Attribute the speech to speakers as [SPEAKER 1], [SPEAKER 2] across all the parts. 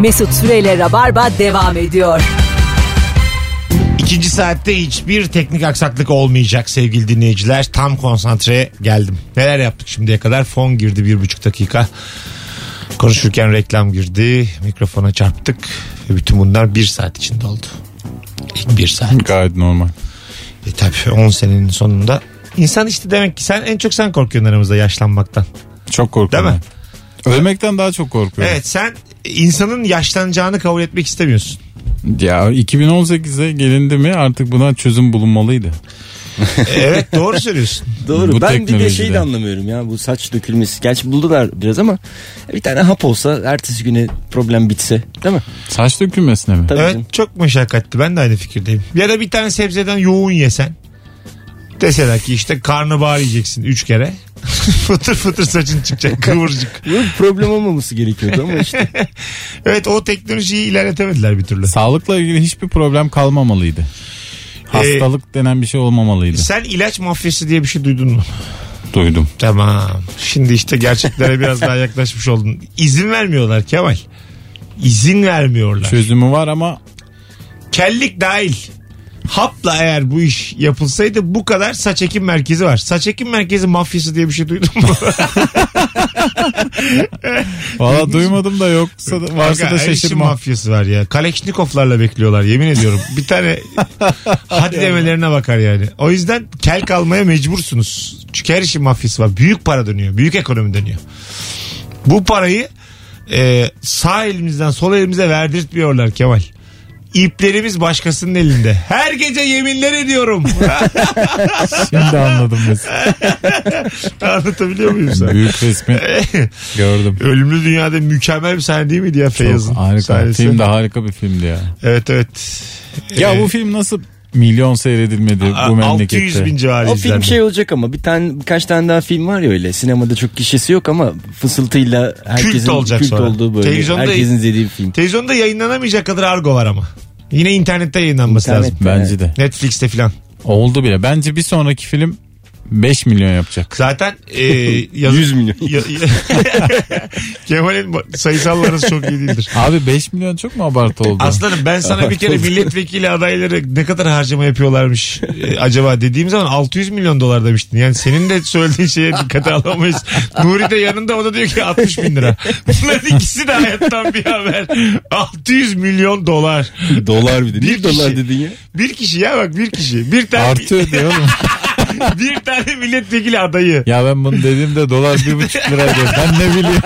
[SPEAKER 1] Mesut Süreyle Rabarba devam ediyor.
[SPEAKER 2] İkinci saatte hiçbir teknik aksaklık olmayacak sevgili dinleyiciler. Tam konsantre geldim. Neler yaptık şimdiye kadar? Fon girdi bir buçuk dakika. Konuşurken reklam girdi. Mikrofona çarptık. Ve bütün bunlar bir saat içinde oldu. İlk bir saat.
[SPEAKER 3] Gayet normal.
[SPEAKER 2] E tabii 10 senenin sonunda. insan işte demek ki sen en çok sen korkuyorsun aramızda yaşlanmaktan.
[SPEAKER 3] Çok korkuyorum.
[SPEAKER 2] Değil mi?
[SPEAKER 3] ben. Ölmekten daha çok korkuyorum.
[SPEAKER 2] Evet sen insanın yaşlanacağını kabul etmek istemiyorsun.
[SPEAKER 3] Ya 2018'e gelindi mi artık buna çözüm bulunmalıydı.
[SPEAKER 2] Evet doğru söylüyorsun.
[SPEAKER 4] Doğru.
[SPEAKER 3] Bu
[SPEAKER 4] ben bir de şeyi
[SPEAKER 3] teknolojide.
[SPEAKER 4] de anlamıyorum ya bu saç dökülmesi. Gerçi buldular biraz ama bir tane hap olsa ertesi güne problem bitse değil mi?
[SPEAKER 3] Saç dökülmesine mi?
[SPEAKER 4] Tabii canım.
[SPEAKER 2] Evet çok meşakkatli ben de aynı fikirdeyim. Ya da bir tane sebzeden yoğun yesen. Deseler ki işte karnabahar yiyeceksin 3 kere. fıtır fıtır saçın çıkacak kıvırcık.
[SPEAKER 4] Yok, problem olmaması gerekiyordu ama işte.
[SPEAKER 2] Evet o teknolojiyi ilerletemediler bir türlü.
[SPEAKER 3] Sağlıkla ilgili hiçbir problem kalmamalıydı.
[SPEAKER 2] Ee,
[SPEAKER 3] Hastalık denen bir şey olmamalıydı.
[SPEAKER 2] Sen ilaç mafyası diye bir şey duydun mu?
[SPEAKER 3] Duydum.
[SPEAKER 2] Tamam. Şimdi işte gerçeklere biraz daha yaklaşmış oldun. İzin vermiyorlar Kemal. İzin vermiyorlar.
[SPEAKER 3] Çözümü var ama
[SPEAKER 2] Kellik dahil. Hapla eğer bu iş yapılsaydı bu kadar saç ekim merkezi var. Saç ekim merkezi mafyası diye bir şey duydun mu?
[SPEAKER 3] valla duymadım da yoksa da, varsa
[SPEAKER 2] Kanka,
[SPEAKER 3] da
[SPEAKER 2] her işin
[SPEAKER 3] şaşırmam.
[SPEAKER 2] mafyası var ya. Kaleşnikovlarla bekliyorlar yemin ediyorum. Bir tane hadi demelerine bakar yani. O yüzden kel kalmaya mecbursunuz. Çünkü her işin mafyası var. Büyük para dönüyor. Büyük ekonomi dönüyor. Bu parayı e, sağ elimizden sol elimize verdirtmiyorlar Kemal. İplerimiz başkasının elinde. Her gece yeminler ediyorum.
[SPEAKER 3] Şimdi anladım mesela.
[SPEAKER 2] Anlatabiliyor muyum sana?
[SPEAKER 3] Büyük resmi gördüm.
[SPEAKER 2] Ölümlü Dünya'da mükemmel bir sahne değil miydi ya Feyyaz'ın
[SPEAKER 3] Çok harika.
[SPEAKER 2] sahnesi?
[SPEAKER 3] Film de harika bir filmdi ya.
[SPEAKER 2] Evet evet.
[SPEAKER 3] Ya
[SPEAKER 2] Ee,
[SPEAKER 3] bu film nasıl milyon seyredilmedi
[SPEAKER 2] a-
[SPEAKER 3] bu
[SPEAKER 2] 600
[SPEAKER 3] memlekette?
[SPEAKER 2] bin civarı
[SPEAKER 4] o
[SPEAKER 2] izlendi.
[SPEAKER 4] film şey olacak ama bir tane birkaç tane daha film var ya öyle. Sinemada çok kişisi yok ama fısıltıyla herkesin
[SPEAKER 2] Kült
[SPEAKER 4] kült,
[SPEAKER 2] olacak sonra.
[SPEAKER 4] olduğu böyle.
[SPEAKER 2] Televizyonda-
[SPEAKER 4] herkesin izlediği bir film.
[SPEAKER 2] Televizyonda yayınlanamayacak kadar argo var ama. Yine internette yayınlanması
[SPEAKER 4] İnternet.
[SPEAKER 2] lazım.
[SPEAKER 3] Bence de.
[SPEAKER 2] Netflix'te filan.
[SPEAKER 3] Oldu bile. Bence bir sonraki film 5 milyon yapacak.
[SPEAKER 2] Zaten e, yaz-
[SPEAKER 4] 100 milyon.
[SPEAKER 2] Ya- Kemal'in ba- sayısal arası çok iyi değildir.
[SPEAKER 3] Abi 5 milyon çok mu abartı oldu?
[SPEAKER 2] Aslanım ben sana bir kere milletvekili adayları ne kadar harcama yapıyorlarmış e, acaba dediğim zaman 600 milyon dolar demiştin. Yani senin de söylediğin şeye dikkate alamayız. Nuri de yanında o da diyor ki 60 bin lira. Bunların ikisi de hayattan bir haber. 600 milyon dolar.
[SPEAKER 4] dolar bir de.
[SPEAKER 2] Bir
[SPEAKER 4] Bir dolar
[SPEAKER 2] kişi.
[SPEAKER 4] dedin ya.
[SPEAKER 2] Bir kişi ya bak bir kişi. Bir tane
[SPEAKER 3] Artı ödüyor oğlum.
[SPEAKER 2] bir tane milletvekili adayı.
[SPEAKER 3] Ya ben bunu dediğimde dolar bir buçuk lira diyor. Ben ne bileyim.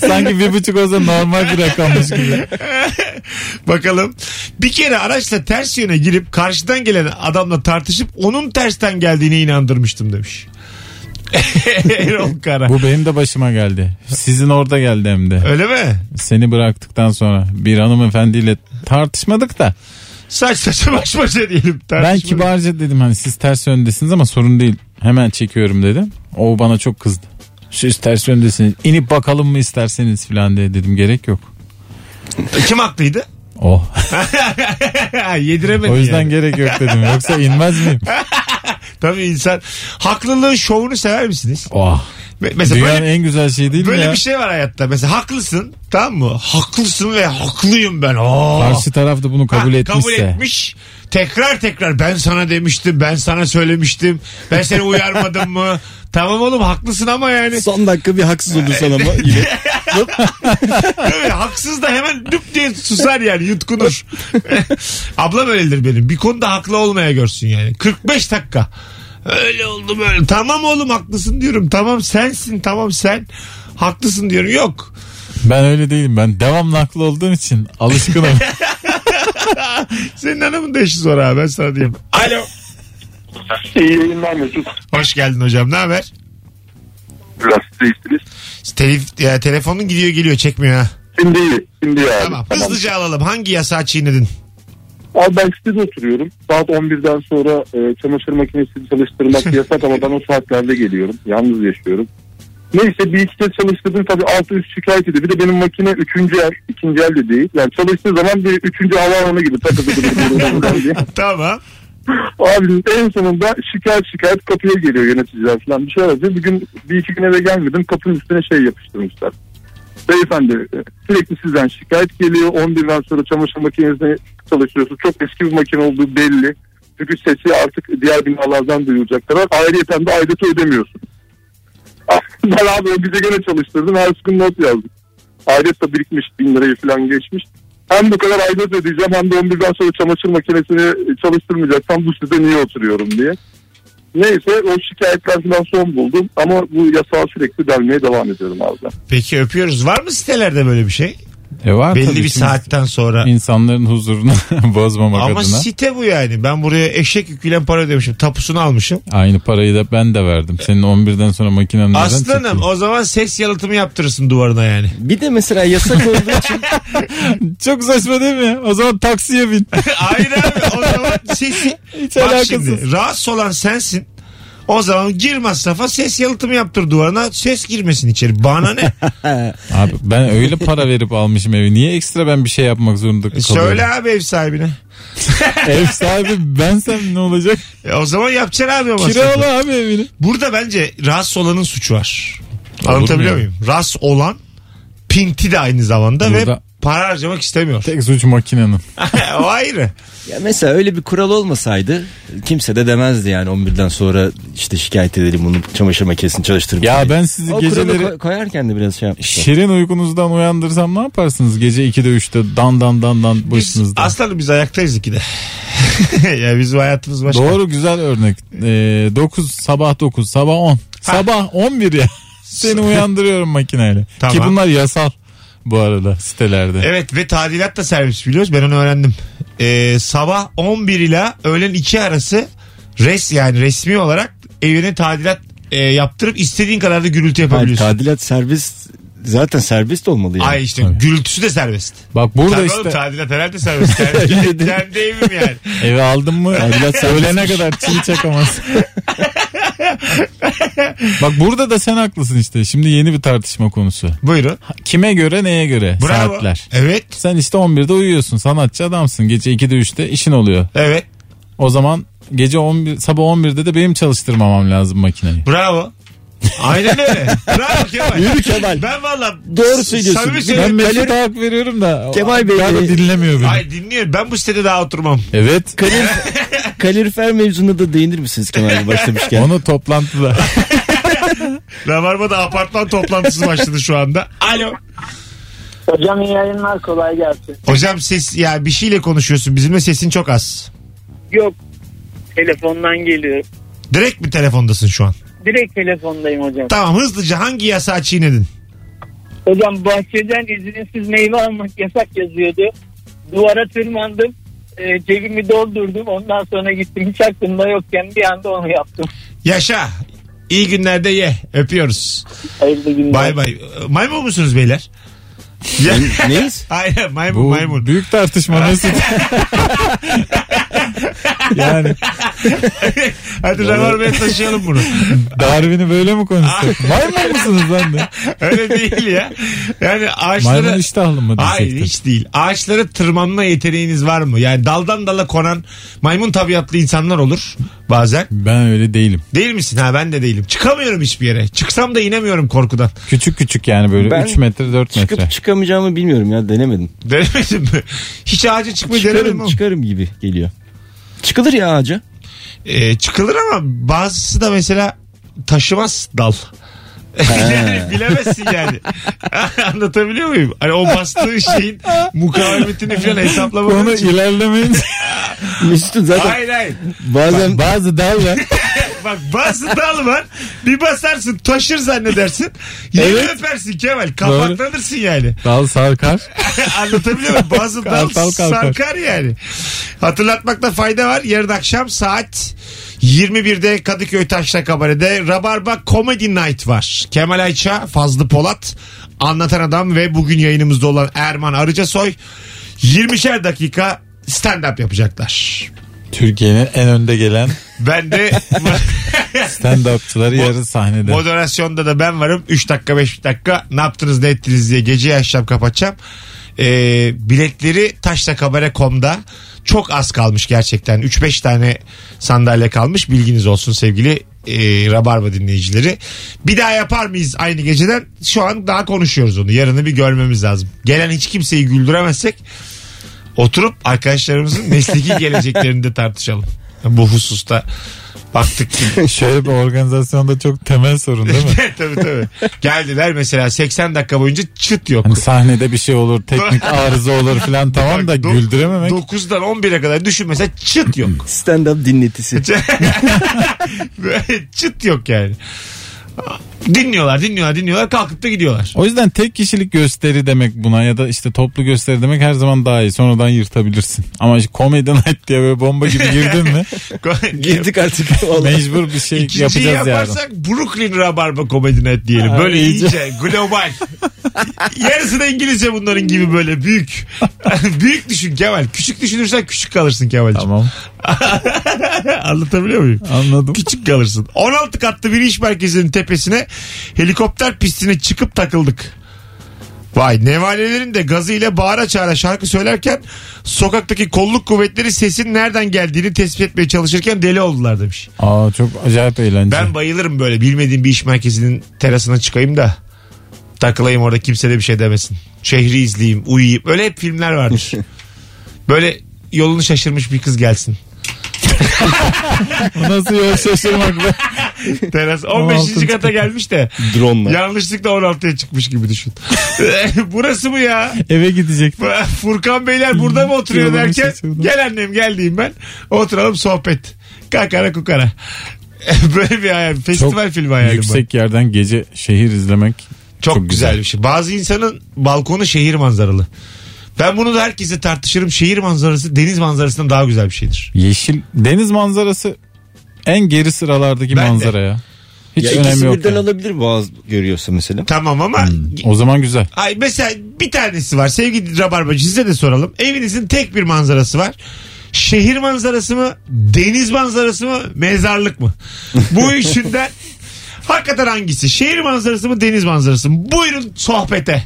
[SPEAKER 3] Sanki bir buçuk olsa normal bir rakammış gibi.
[SPEAKER 2] Bakalım. Bir kere araçla ters yöne girip karşıdan gelen adamla tartışıp onun tersten geldiğine inandırmıştım demiş. Erol Kara.
[SPEAKER 3] Bu benim de başıma geldi. Sizin orada geldi hem de.
[SPEAKER 2] Öyle mi?
[SPEAKER 3] Seni bıraktıktan sonra bir hanımefendiyle tartışmadık da.
[SPEAKER 2] Saç saça baş başa diyelim.
[SPEAKER 3] Ben
[SPEAKER 2] Tartışma.
[SPEAKER 3] kibarca dedim hani siz ters yöndesiniz ama sorun değil. Hemen çekiyorum dedim. O bana çok kızdı. Siz ters yöndesiniz. İnip bakalım mı isterseniz filan diye dedim. Gerek yok.
[SPEAKER 2] Kim haklıydı?
[SPEAKER 3] Oh.
[SPEAKER 2] Yediremedi
[SPEAKER 3] O yüzden
[SPEAKER 2] yani.
[SPEAKER 3] gerek yok dedim. Yoksa inmez miyim?
[SPEAKER 2] Tabii insan. Haklılığın şovunu sever misiniz?
[SPEAKER 3] Oh.
[SPEAKER 2] Me- Mesela
[SPEAKER 3] Dünyanın
[SPEAKER 2] böyle,
[SPEAKER 3] en güzel şeyi değil mi
[SPEAKER 2] böyle
[SPEAKER 3] ya?
[SPEAKER 2] bir şey var hayatta. Mesela haklısın tamam mı? Haklısın ve haklıyım ben. Aa.
[SPEAKER 3] Karşı taraf da bunu kabul
[SPEAKER 2] Ha,
[SPEAKER 3] etmişse.
[SPEAKER 2] Kabul etmiş. Tekrar tekrar ben sana demiştim, ben sana söylemiştim, ben seni uyarmadım mı? Tamam oğlum haklısın ama yani.
[SPEAKER 4] Son dakika bir haksız olursan ama yine.
[SPEAKER 2] Tabii, haksız da hemen düp diye susar yani yutkunur. Ablam öyledir benim. Bir konuda haklı olmaya görsün yani. 45 dakika. Öyle oldu böyle. Tamam oğlum haklısın diyorum. Tamam sensin tamam sen. Haklısın diyorum. Yok.
[SPEAKER 3] Ben öyle değilim. Ben devamlı haklı olduğum için alışkınım.
[SPEAKER 2] Senin hanımın da işi zor abi ben sana diyeyim. Alo.
[SPEAKER 5] İyi yayınlar Mesut.
[SPEAKER 2] Hoş geldin hocam ne haber?
[SPEAKER 5] Biraz değiştiniz.
[SPEAKER 2] Telif, ya, telefonun gidiyor geliyor çekmiyor ha.
[SPEAKER 5] Şimdi iyi. Şimdi iyi abi.
[SPEAKER 2] Tamam. Hızlıca alalım. Hangi yasağı çiğnedin?
[SPEAKER 5] Abi ben sitede oturuyorum. Saat 11'den sonra e, çamaşır makinesini çalıştırmak yasak ama ben o saatlerde geliyorum. Yalnız yaşıyorum. Neyse bir iki kez çalıştırdım tabii altı üst şikayet ediyor. Bir de benim makine üçüncü el, ikinci el de değil. Yani çalıştığı zaman bir üçüncü havaalanı gibi takıldı. diye.
[SPEAKER 2] Tamam.
[SPEAKER 5] Abi en sonunda şikayet şikayet kapıya geliyor yöneticiler falan bir şey yazıyor. Bir gün bir iki gün eve gelmedim kapının üstüne şey yapıştırmışlar. İşte beyefendi e, sürekli sizden şikayet geliyor. 11'den sonra çamaşır makinesine çalışıyorsunuz. Çok eski bir makine olduğu belli. Çünkü sesi artık diğer binalardan duyulacak kadar. Ayrıyeten de aydeti ödemiyorsun. ben abi o bize gene çalıştırdım. Her gün not yazdım. Aydet de birikmiş. Bin lirayı falan geçmiş. Hem bu kadar aidat ödeyeceğim hem de 11'den sonra çamaşır makinesini çalıştırmayacaksam bu size niye oturuyorum diye. Neyse o şikayetler falan son buldum ama bu yasağa sürekli delmeye devam ediyorum abi. ben.
[SPEAKER 2] Peki öpüyoruz. Var mı sitelerde böyle bir şey?
[SPEAKER 3] E var tabii
[SPEAKER 2] Belli bir
[SPEAKER 3] şimdi
[SPEAKER 2] saatten sonra.
[SPEAKER 3] insanların huzurunu bozmamak
[SPEAKER 2] Ama
[SPEAKER 3] adına.
[SPEAKER 2] site bu yani. Ben buraya eşek yüküyle para ödemişim. Tapusunu almışım.
[SPEAKER 3] Aynı parayı da ben de verdim. Senin 11'den sonra makinen nereden
[SPEAKER 2] Aslanım
[SPEAKER 3] çıktı?
[SPEAKER 2] o zaman ses yalıtımı yaptırırsın duvarına yani.
[SPEAKER 4] Bir de mesela yasak olduğu için
[SPEAKER 3] Çok saçma değil mi? O zaman taksiye bin.
[SPEAKER 2] Hayır abi o zaman sesi.
[SPEAKER 3] Hiç
[SPEAKER 2] Bak
[SPEAKER 3] alakasız.
[SPEAKER 2] şimdi rahatsız olan sensin. O zaman gir masrafa ses yalıtımı yaptır duvarına. Ses girmesin içeri. Bana ne?
[SPEAKER 3] Abi ben öyle para verip almışım evi. Niye ekstra ben bir şey yapmak zorunda
[SPEAKER 2] E,
[SPEAKER 3] kalıyorum?
[SPEAKER 2] Söyle abi ev sahibine.
[SPEAKER 3] Ev sahibi bensem ne olacak?
[SPEAKER 2] E, o zaman yapacaksın abi o masrafı.
[SPEAKER 3] Kirala abi evini.
[SPEAKER 2] Burada bence rahatsız olanın suçu var. Anlatabiliyor
[SPEAKER 3] mu ya?
[SPEAKER 2] muyum? Rahatsız olan pinti de aynı zamanda ve
[SPEAKER 3] Burada-
[SPEAKER 2] para harcamak istemiyor.
[SPEAKER 3] Tek suç makinenin.
[SPEAKER 2] o ayrı.
[SPEAKER 4] Ya mesela öyle bir kural olmasaydı kimse de demezdi yani 11'den sonra işte şikayet edelim bunu çamaşır makinesini çalıştırıp.
[SPEAKER 3] Ya ben sizi
[SPEAKER 4] o kuralı
[SPEAKER 3] geceleri
[SPEAKER 4] koy- koyarken de biraz şey yapmışlar.
[SPEAKER 3] şirin uykunuzdan uyandırsam ne yaparsınız? Gece 2'de 3'te dan dan dan dan
[SPEAKER 2] Biz,
[SPEAKER 3] başınızda.
[SPEAKER 2] aslanım biz ayaktayız ikide. ya bizim hayatımız başka.
[SPEAKER 3] Doğru güzel örnek. 9 sabah 9 sabah 10. Sabah 11 ya. Seni uyandırıyorum makineyle.
[SPEAKER 2] Tamam. E,
[SPEAKER 3] Ki bunlar yasal bu arada sitelerde.
[SPEAKER 2] Evet ve tadilat da servis biliyoruz. Ben onu öğrendim. Ee, sabah 11 ile öğlen 2 arası res yani resmi olarak evine tadilat e, yaptırıp istediğin kadar da gürültü
[SPEAKER 4] Hayır,
[SPEAKER 2] yapabiliyorsun.
[SPEAKER 4] tadilat serbest zaten serbest olmalı yani.
[SPEAKER 2] Ay işte
[SPEAKER 3] Tabii.
[SPEAKER 2] gürültüsü de serbest.
[SPEAKER 3] Bak burada
[SPEAKER 2] Tabii oğlum,
[SPEAKER 3] işte
[SPEAKER 2] tadilat herhalde serbest. Kendi, kendi evim yani.
[SPEAKER 3] eve aldın mı
[SPEAKER 4] Tadilat
[SPEAKER 3] öğlene kadar çivi çakamazsın. Bak burada da sen haklısın işte. Şimdi yeni bir tartışma konusu.
[SPEAKER 2] Buyurun.
[SPEAKER 3] Kime göre neye göre
[SPEAKER 2] Bravo.
[SPEAKER 3] saatler.
[SPEAKER 2] Evet.
[SPEAKER 3] Sen işte 11'de uyuyorsun sanatçı adamsın. Gece 2'de 3'te işin oluyor.
[SPEAKER 2] Evet.
[SPEAKER 3] O zaman gece 11 sabah 11'de de benim çalıştırmamam lazım makineyi.
[SPEAKER 2] Bravo. Aynen öyle. Bravo Kemal.
[SPEAKER 4] Yürü Kemal.
[SPEAKER 2] Ben valla
[SPEAKER 4] Doğru söylüyorsun.
[SPEAKER 2] Samimi
[SPEAKER 3] Ben
[SPEAKER 2] söylüyorum.
[SPEAKER 3] Mesut Hak veriyorum da
[SPEAKER 4] Kemal Bey-
[SPEAKER 3] galiba dinlemiyor beni.
[SPEAKER 2] Ay dinliyorum. Ben bu sitede daha oturmam.
[SPEAKER 3] Evet.
[SPEAKER 4] Kalorifer mevzuna da değinir misiniz Kemal Bey başlamışken?
[SPEAKER 3] Onu toplantıda.
[SPEAKER 2] Rabarba'da apartman toplantısı başladı şu anda. Alo.
[SPEAKER 6] Hocam iyi yayınlar kolay gelsin.
[SPEAKER 2] Hocam ses ya bir şeyle konuşuyorsun. Bizimle sesin çok az.
[SPEAKER 6] Yok telefondan geliyor.
[SPEAKER 2] Direkt mi telefondasın şu an?
[SPEAKER 6] Direkt telefondayım hocam.
[SPEAKER 2] Tamam hızlıca hangi yasağı çiğnedin?
[SPEAKER 6] Hocam bahçeden izinsiz meyve almak yasak yazıyordu. Duvara tırmandım. e, cebimi doldurdum. Ondan sonra gittim. Hiç aklımda yokken bir anda onu yaptım.
[SPEAKER 2] Yaşa. İyi günlerde ye. Öpüyoruz.
[SPEAKER 6] Hayırlı günler.
[SPEAKER 2] Bay bay. Maymun musunuz beyler? Ya,
[SPEAKER 4] Neyiz?
[SPEAKER 2] hayır maymun
[SPEAKER 3] Bu
[SPEAKER 2] maymun.
[SPEAKER 3] büyük tartışma Mesut. yani
[SPEAKER 2] Hadi Rabarba'ya taşıyalım bunu.
[SPEAKER 3] Darwin'i böyle mi konuştuk? Maymun musunuz lan de?
[SPEAKER 2] Öyle değil ya. Yani ağaçları...
[SPEAKER 3] Maymun iştahlı mı
[SPEAKER 2] Hayır
[SPEAKER 3] diyecektim.
[SPEAKER 2] hiç değil. Ağaçlara tırmanma yeteneğiniz var mı? Yani daldan dala konan maymun tabiatlı insanlar olur bazen.
[SPEAKER 3] Ben öyle değilim.
[SPEAKER 2] Değil misin? Ha ben de değilim. Çıkamıyorum hiçbir yere. Çıksam da inemiyorum korkudan.
[SPEAKER 3] Küçük küçük yani böyle
[SPEAKER 4] Ben
[SPEAKER 3] 3 metre 4
[SPEAKER 4] Çıkıp
[SPEAKER 3] metre.
[SPEAKER 4] çıkamayacağımı bilmiyorum ya denemedim.
[SPEAKER 2] Denemedim mi? Hiç ağaca çıkmayı denemedim
[SPEAKER 4] Çıkarım,
[SPEAKER 2] ama.
[SPEAKER 4] çıkarım gibi geliyor. Çıkılır ya ağaca.
[SPEAKER 2] Ee, çıkılır ama bazısı da mesela taşımaz dal. yani bilemezsin yani. Anlatabiliyor muyum? Hani o bastığı şeyin mukavemetini falan hesaplamak
[SPEAKER 3] Konu
[SPEAKER 2] için.
[SPEAKER 3] ilerlemeyin.
[SPEAKER 4] Mesut'un zaten
[SPEAKER 2] Hayır hayır.
[SPEAKER 4] bazen
[SPEAKER 3] Bazı dal ya.
[SPEAKER 2] Bak bazı dal var. Bir basarsın taşır zannedersin. Yine öpersin Kemal. Kapaklanırsın yani.
[SPEAKER 3] Dal sarkar.
[SPEAKER 2] Anlatabiliyor muyum? Bazı dal
[SPEAKER 3] Kalkar, kalkar.
[SPEAKER 2] sarkar yani. Hatırlatmakta fayda var. Yarın akşam saat 21'de Kadıköy Taşra Kabare'de Rabarba Comedy Night var. Kemal Ayça, Fazlı Polat, Anlatan Adam ve bugün yayınımızda olan Erman Arıcasoy 20'şer dakika stand-up yapacaklar.
[SPEAKER 3] Türkiye'nin en önde gelen
[SPEAKER 2] Ben de
[SPEAKER 3] stand-upçıları yarın sahnede.
[SPEAKER 2] Moderasyonda da ben varım. 3 dakika 5 dakika ne yaptınız ne ettiniz diye gece açacağım kapatacağım. Ee, biletleri taştakabare.com'da çok az kalmış gerçekten. 3-5 tane sandalye kalmış. Bilginiz olsun sevgili e, Rabarba dinleyicileri. Bir daha yapar mıyız aynı geceden? Şu an daha konuşuyoruz onu. Yarını bir görmemiz lazım. Gelen hiç kimseyi güldüremezsek oturup arkadaşlarımızın mesleki geleceklerini de tartışalım. Bu hususta baktık ki
[SPEAKER 3] Şöyle bir organizasyonda çok temel sorun değil mi?
[SPEAKER 2] tabii tabii. Geldiler mesela 80 dakika boyunca çıt yok.
[SPEAKER 3] Hani sahnede bir şey olur, teknik arıza olur filan tamam
[SPEAKER 2] Bak,
[SPEAKER 3] da
[SPEAKER 2] do-
[SPEAKER 3] güldürememek.
[SPEAKER 2] 9'dan 11'e kadar düşün mesela çıt yok.
[SPEAKER 4] Stand up dinletisi.
[SPEAKER 3] Hmm.
[SPEAKER 2] Böyle çıt yok yani. Dinliyorlar dinliyorlar dinliyorlar kalkıp da gidiyorlar.
[SPEAKER 3] O yüzden tek kişilik gösteri demek buna ya da işte toplu gösteri demek her zaman daha iyi. Sonradan yırtabilirsin. Ama işte Comedy Night diye böyle bomba gibi girdin mi
[SPEAKER 4] Girdik artık. Vallahi.
[SPEAKER 3] mecbur bir şey
[SPEAKER 2] İkinciyi
[SPEAKER 3] yapacağız yarın.
[SPEAKER 2] yaparsak Brooklyn Rabarba Comedy Night diyelim.
[SPEAKER 3] Ha,
[SPEAKER 2] Böyle
[SPEAKER 3] iyice.
[SPEAKER 2] iyice global. Yarısı da İngilizce bunların gibi böyle büyük. büyük düşün Kemal. Küçük düşünürsen küçük kalırsın Kemal'ciğim.
[SPEAKER 3] Tamam
[SPEAKER 2] Anlatabiliyor muyum?
[SPEAKER 3] anladım.
[SPEAKER 2] Küçük kalırsın. 16 katlı bir iş merkezinin tepesine helikopter pistine çıkıp takıldık. Vay nevalelerin de gazıyla bağıra çağıra şarkı söylerken sokaktaki kolluk kuvvetleri sesin nereden geldiğini tespit etmeye çalışırken deli oldular demiş.
[SPEAKER 3] Aa çok acayip eğlence.
[SPEAKER 2] Ben bayılırım böyle bilmediğim bir iş merkezinin terasına çıkayım da takılayım orada kimse de bir şey demesin. Şehri izleyeyim, uyuyayım. Öyle hep filmler vardır. böyle yolunu şaşırmış bir kız gelsin.
[SPEAKER 3] Bu Nasıl yol şaşırmak be?
[SPEAKER 2] Teras 15.
[SPEAKER 3] 16.
[SPEAKER 2] kata gelmiş de
[SPEAKER 4] Drone'la.
[SPEAKER 2] Yanlışlıkla 16'ya çıkmış gibi düşün. Burası mı ya?
[SPEAKER 3] Eve gidecek.
[SPEAKER 2] Furkan Beyler burada mı oturuyor
[SPEAKER 3] Yolumu
[SPEAKER 2] derken
[SPEAKER 3] şaşırdım.
[SPEAKER 2] gel annem gel diyeyim ben. Oturalım sohbet. Kakara kukara. Böyle bir hayal. Festival filmi hayalim var.
[SPEAKER 3] Yüksek yerden gece şehir izlemek
[SPEAKER 2] Çok,
[SPEAKER 3] çok
[SPEAKER 2] güzel
[SPEAKER 3] güzel.
[SPEAKER 2] bir şey. Bazı insanın balkonu şehir manzaralı. Ben bunu da herkese tartışırım. Şehir manzarası deniz manzarasından daha güzel bir şeydir.
[SPEAKER 3] yeşil deniz manzarası en geri sıralardaki
[SPEAKER 2] Ben de.
[SPEAKER 3] manzara ya. Hiç
[SPEAKER 4] Ya
[SPEAKER 3] önemi
[SPEAKER 4] ikisi
[SPEAKER 3] yok.
[SPEAKER 4] birden
[SPEAKER 3] yani.
[SPEAKER 4] alabilir boğaz görüyorsa mesela.
[SPEAKER 2] Tamam ama
[SPEAKER 3] O zaman güzel.
[SPEAKER 2] Ay mesela bir tanesi var. Sevgili Rabarbacı size de soralım. Evinizin tek bir manzarası var. Şehir manzarası mı? Deniz manzarası mı? Mezarlık mı? Bu üçünden hakikaten hangisi? Şehir manzarası mı? Deniz manzarası mı? Buyurun sohbete.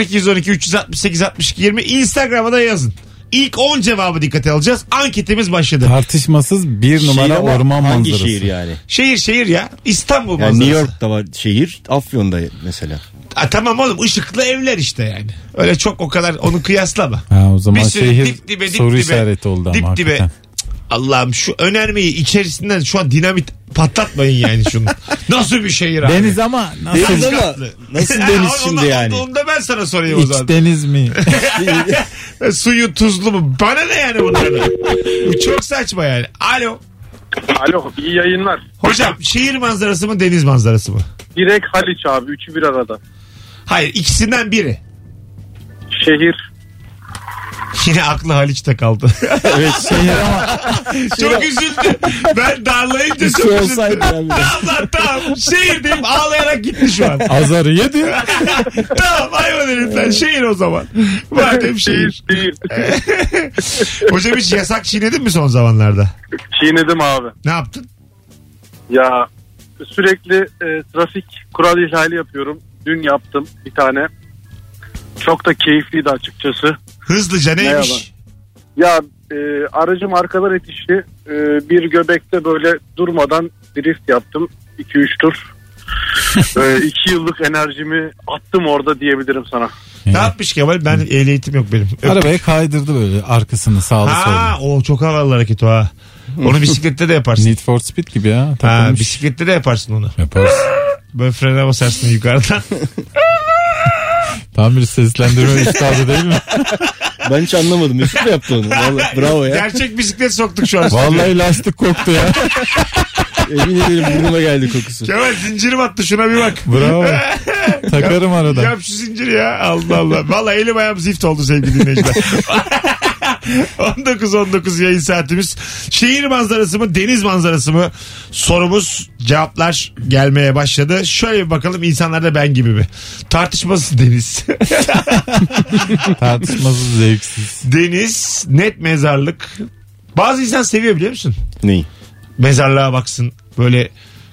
[SPEAKER 2] 0212 368 62 20 Instagram'a da yazın. İlk 10 cevabı dikkate alacağız. Anketimiz başladı.
[SPEAKER 3] Tartışmasız bir numara
[SPEAKER 4] Şehir ama
[SPEAKER 3] orman
[SPEAKER 4] hangi
[SPEAKER 3] manzarası.
[SPEAKER 4] şehir yani?
[SPEAKER 2] Şehir şehir ya. İstanbul
[SPEAKER 4] Yani
[SPEAKER 2] manzarası.
[SPEAKER 4] New York'ta var şehir, Afyon'da mesela.
[SPEAKER 2] Ha, tamam oğlum ışıklı evler işte yani. Öyle çok o kadar onu kıyaslama.
[SPEAKER 3] Ha, o zaman
[SPEAKER 2] Bir sürü
[SPEAKER 3] şehir
[SPEAKER 2] dip dibe, dip
[SPEAKER 3] soru
[SPEAKER 2] dibe,
[SPEAKER 3] işareti oldu ama
[SPEAKER 2] dip dibe.
[SPEAKER 3] hakikaten.
[SPEAKER 2] Cık, Allah'ım şu önermeyi içerisinden şu an dinamit patlatmayın yani şunu. Nasıl bir şehir abi?
[SPEAKER 3] Deniz ama nasıl?
[SPEAKER 4] Deniz ama nasıl
[SPEAKER 2] Ha,
[SPEAKER 4] deniz
[SPEAKER 2] onu-
[SPEAKER 4] şimdi
[SPEAKER 2] onu-
[SPEAKER 4] yani?
[SPEAKER 2] Onu da ben sana sorayım o
[SPEAKER 3] İç
[SPEAKER 2] zaman.
[SPEAKER 3] deniz mi?
[SPEAKER 2] Suyu tuzlu mu? Bana ne yani bunlardan? Bu çok saçma yani. Alo.
[SPEAKER 5] Alo iyi yayınlar.
[SPEAKER 2] Hocam şehir manzarası mı deniz manzarası mı?
[SPEAKER 5] Direkt Haliç abi. Üçü bir arada.
[SPEAKER 2] Hayır ikisinden biri.
[SPEAKER 5] Şehir.
[SPEAKER 2] Yine aklı Haliç'te kaldı.
[SPEAKER 3] evet şehir ama
[SPEAKER 2] çok üzüldü. Ben darlayınca çok
[SPEAKER 4] şey
[SPEAKER 2] üzüldü.
[SPEAKER 4] olsaydı yani.
[SPEAKER 2] Allah tamam. Şehir deyip ağlayarak gitti şu an.
[SPEAKER 3] azarı yedi.
[SPEAKER 2] tamam hayvan herifler şehir o zaman. Madem şehir.
[SPEAKER 5] Şehir.
[SPEAKER 2] Hocam hiç yasak çiğnedin mi son zamanlarda?
[SPEAKER 5] Çiğnedim abi.
[SPEAKER 2] Ne yaptın?
[SPEAKER 5] Ya sürekli e, trafik kural ihlali yapıyorum. Dün yaptım bir tane. Çok da keyifliydi açıkçası.
[SPEAKER 2] Hızlıca neymiş?
[SPEAKER 5] Merhaba. Ya e, aracım arkadan itişti. E, bir göbekte böyle durmadan drift yaptım. 2-3 tur. 2 yıllık enerjimi attım orada diyebilirim sana.
[SPEAKER 2] Ne yapmış Kemal? Ben ehliyetim yok benim. Öp-
[SPEAKER 3] Arabaya kaydırdı böyle arkasını sağlı
[SPEAKER 2] Ha,
[SPEAKER 3] sollu.
[SPEAKER 2] o çok havalı hareket o ha. Onu bisiklette de yaparsın.
[SPEAKER 3] Need for Speed gibi ya.
[SPEAKER 2] ha,
[SPEAKER 3] Takılmış.
[SPEAKER 2] bisiklette de yaparsın onu.
[SPEAKER 3] Yaparsın.
[SPEAKER 2] Böyle frene basarsın yukarıdan.
[SPEAKER 3] Tam bir seslendirme üstadı değil mi?
[SPEAKER 4] Ben hiç anlamadım. Mesut mu yaptı onu? Vallahi bravo ya.
[SPEAKER 2] Gerçek bisiklet soktuk şu an.
[SPEAKER 3] Vallahi lastik koktu ya.
[SPEAKER 4] Emin ederim burnuma geldi kokusu.
[SPEAKER 2] Kemal zincirim attı şuna bir bak.
[SPEAKER 3] Bravo. Takarım arada.
[SPEAKER 2] Yap şu zinciri ya. Allah Allah. Vallahi elim ayağım zift oldu sevgili dinleyiciler. 19-19 yayın saatimiz. Şehir manzarası mı deniz manzarası mı sorumuz cevaplar gelmeye başladı. Şöyle bir bakalım insanlar da ben gibi mi? Tartışmasız deniz.
[SPEAKER 3] Tartışmasız zevksiz.
[SPEAKER 2] deniz net mezarlık. Bazı insan seviyor biliyor musun?
[SPEAKER 4] Neyi?
[SPEAKER 2] Mezarlığa baksın böyle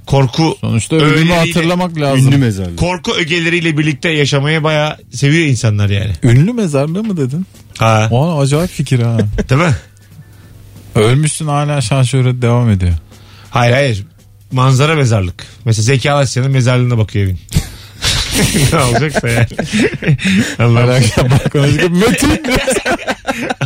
[SPEAKER 2] korku
[SPEAKER 3] Sonuçta ölümü
[SPEAKER 2] Öyle değil.
[SPEAKER 3] hatırlamak lazım.
[SPEAKER 4] Ünlü
[SPEAKER 3] Ünlü,
[SPEAKER 4] mezarlık.
[SPEAKER 2] korku ögeleriyle birlikte yaşamayı bayağı seviyor insanlar yani.
[SPEAKER 3] mezarlığı mı dedin?
[SPEAKER 2] Ha.
[SPEAKER 3] O acayip fikir ha.
[SPEAKER 2] Değil mi?
[SPEAKER 3] Ölmüşsün hala şanşöre devam ediyor.
[SPEAKER 2] Hayır hayır. manzara mezarlık. Mesela Zeki Alasya'nın mezarlığına bakıyor evin. ne olacaksa yani. Allah'ım,
[SPEAKER 3] Alakam bak konuştuk. Metin diye.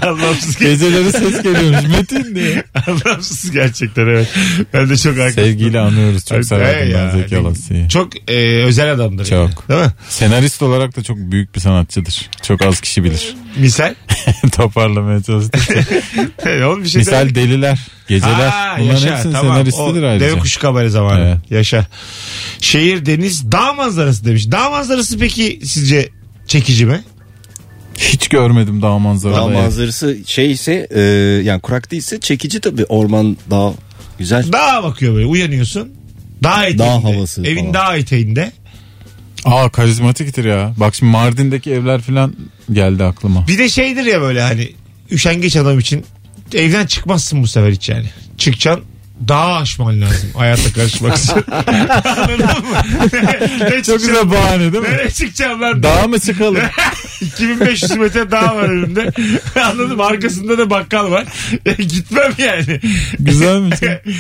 [SPEAKER 2] anlamsız,
[SPEAKER 3] Geceleri ses geliyormuş. Metin diye.
[SPEAKER 2] anlamsız gerçekten evet. Ben de çok haklıyım.
[SPEAKER 3] Sevgiyle anıyoruz. Çok severdim
[SPEAKER 2] Hey ya,
[SPEAKER 3] ben Zeki
[SPEAKER 2] hani
[SPEAKER 3] Alasya'yı.
[SPEAKER 2] Çok e, özel adamdır.
[SPEAKER 3] Çok.
[SPEAKER 2] Yani, değil mi?
[SPEAKER 3] Senarist olarak da çok büyük bir sanatçıdır. Çok az kişi bilir.
[SPEAKER 2] Misal.
[SPEAKER 3] Toparlamaya çalıştım.
[SPEAKER 2] Oğlum bir şey
[SPEAKER 3] Misal deliler, geceler.
[SPEAKER 2] Ha,
[SPEAKER 3] Bunların
[SPEAKER 2] yaşa,
[SPEAKER 3] hepsinin
[SPEAKER 2] tamam.
[SPEAKER 3] senaristidir
[SPEAKER 2] O
[SPEAKER 3] ayrıca.
[SPEAKER 2] Deve kuşu kabare zamanı.
[SPEAKER 3] Evet.
[SPEAKER 2] Yaşa. Şehir, deniz, dağ manzarası demiş. Dağ manzarası peki sizce çekici mi?
[SPEAKER 3] Hiç görmedim dağ
[SPEAKER 4] Dağ
[SPEAKER 3] manzaralı. ev.
[SPEAKER 4] manzarası şey ise e, yani kurak değilse çekici tabii orman dağ güzel.
[SPEAKER 2] Dağa bakıyor böyle uyanıyorsun. Dağ eteğinde.
[SPEAKER 4] havası
[SPEAKER 2] Evin
[SPEAKER 4] falan.
[SPEAKER 2] dağ eteğinde.
[SPEAKER 3] Aa karizmatiktir ya. Bak şimdi Mardin'deki evler falan geldi aklıma.
[SPEAKER 2] Bir de şeydir ya böyle hani üşengeç adam için evden çıkmazsın bu sefer hiç yani. Çıkacaksın dağı aşman lazım. Hayata karışmak için. Anladın mı? ne
[SPEAKER 3] Çok
[SPEAKER 2] çıkacağım?
[SPEAKER 3] güzel bahane değil mi?
[SPEAKER 2] Nereye çıkacağım lan?
[SPEAKER 3] Dağa mı çıkalım?
[SPEAKER 2] 2500 metre daha var önümde. Anladım arkasında da bakkal var. Gitmem yani.
[SPEAKER 3] Güzelmiş.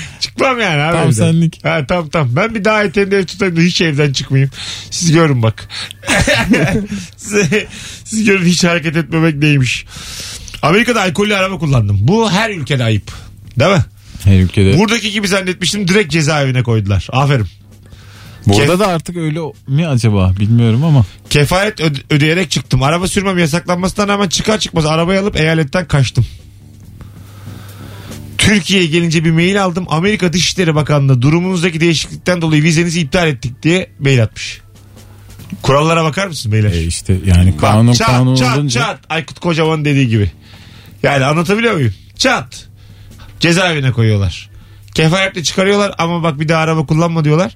[SPEAKER 2] Çıkmam yani abi.
[SPEAKER 3] Tam
[SPEAKER 2] evden.
[SPEAKER 3] senlik.
[SPEAKER 2] Ha, tam tam. Ben bir daha eteğinde ev tutayım da hiç evden çıkmayayım. Siz görün bak. siz, siz görün hiç hareket etmemek neymiş. Amerika'da alkollü araba kullandım. Bu her ülkede ayıp. Değil mi?
[SPEAKER 3] Her ülkede.
[SPEAKER 2] Buradaki gibi zannetmiştim direkt cezaevine koydular. Aferin.
[SPEAKER 3] Burada da artık öyle mi acaba bilmiyorum ama.
[SPEAKER 2] Kefaret öde- ödeyerek çıktım. Araba sürmem yasaklanmasına rağmen çıkar çıkmaz arabayı alıp eyaletten kaçtım. Türkiye'ye gelince bir mail aldım. Amerika Dışişleri Bakanlığı durumunuzdaki değişiklikten dolayı vizenizi iptal ettik diye mail atmış. Kurallara bakar mısınız beyler?
[SPEAKER 3] E işte yani
[SPEAKER 2] Bak,
[SPEAKER 3] kanun
[SPEAKER 2] çat,
[SPEAKER 3] kanun
[SPEAKER 2] çat,
[SPEAKER 3] olunca.
[SPEAKER 2] Çat Aykut Kocaman dediği gibi. Yani anlatabiliyor muyum? Çat. Cezaevine koyuyorlar. Kefaretle çıkarıyorlar ama bak bir daha araba kullanma diyorlar.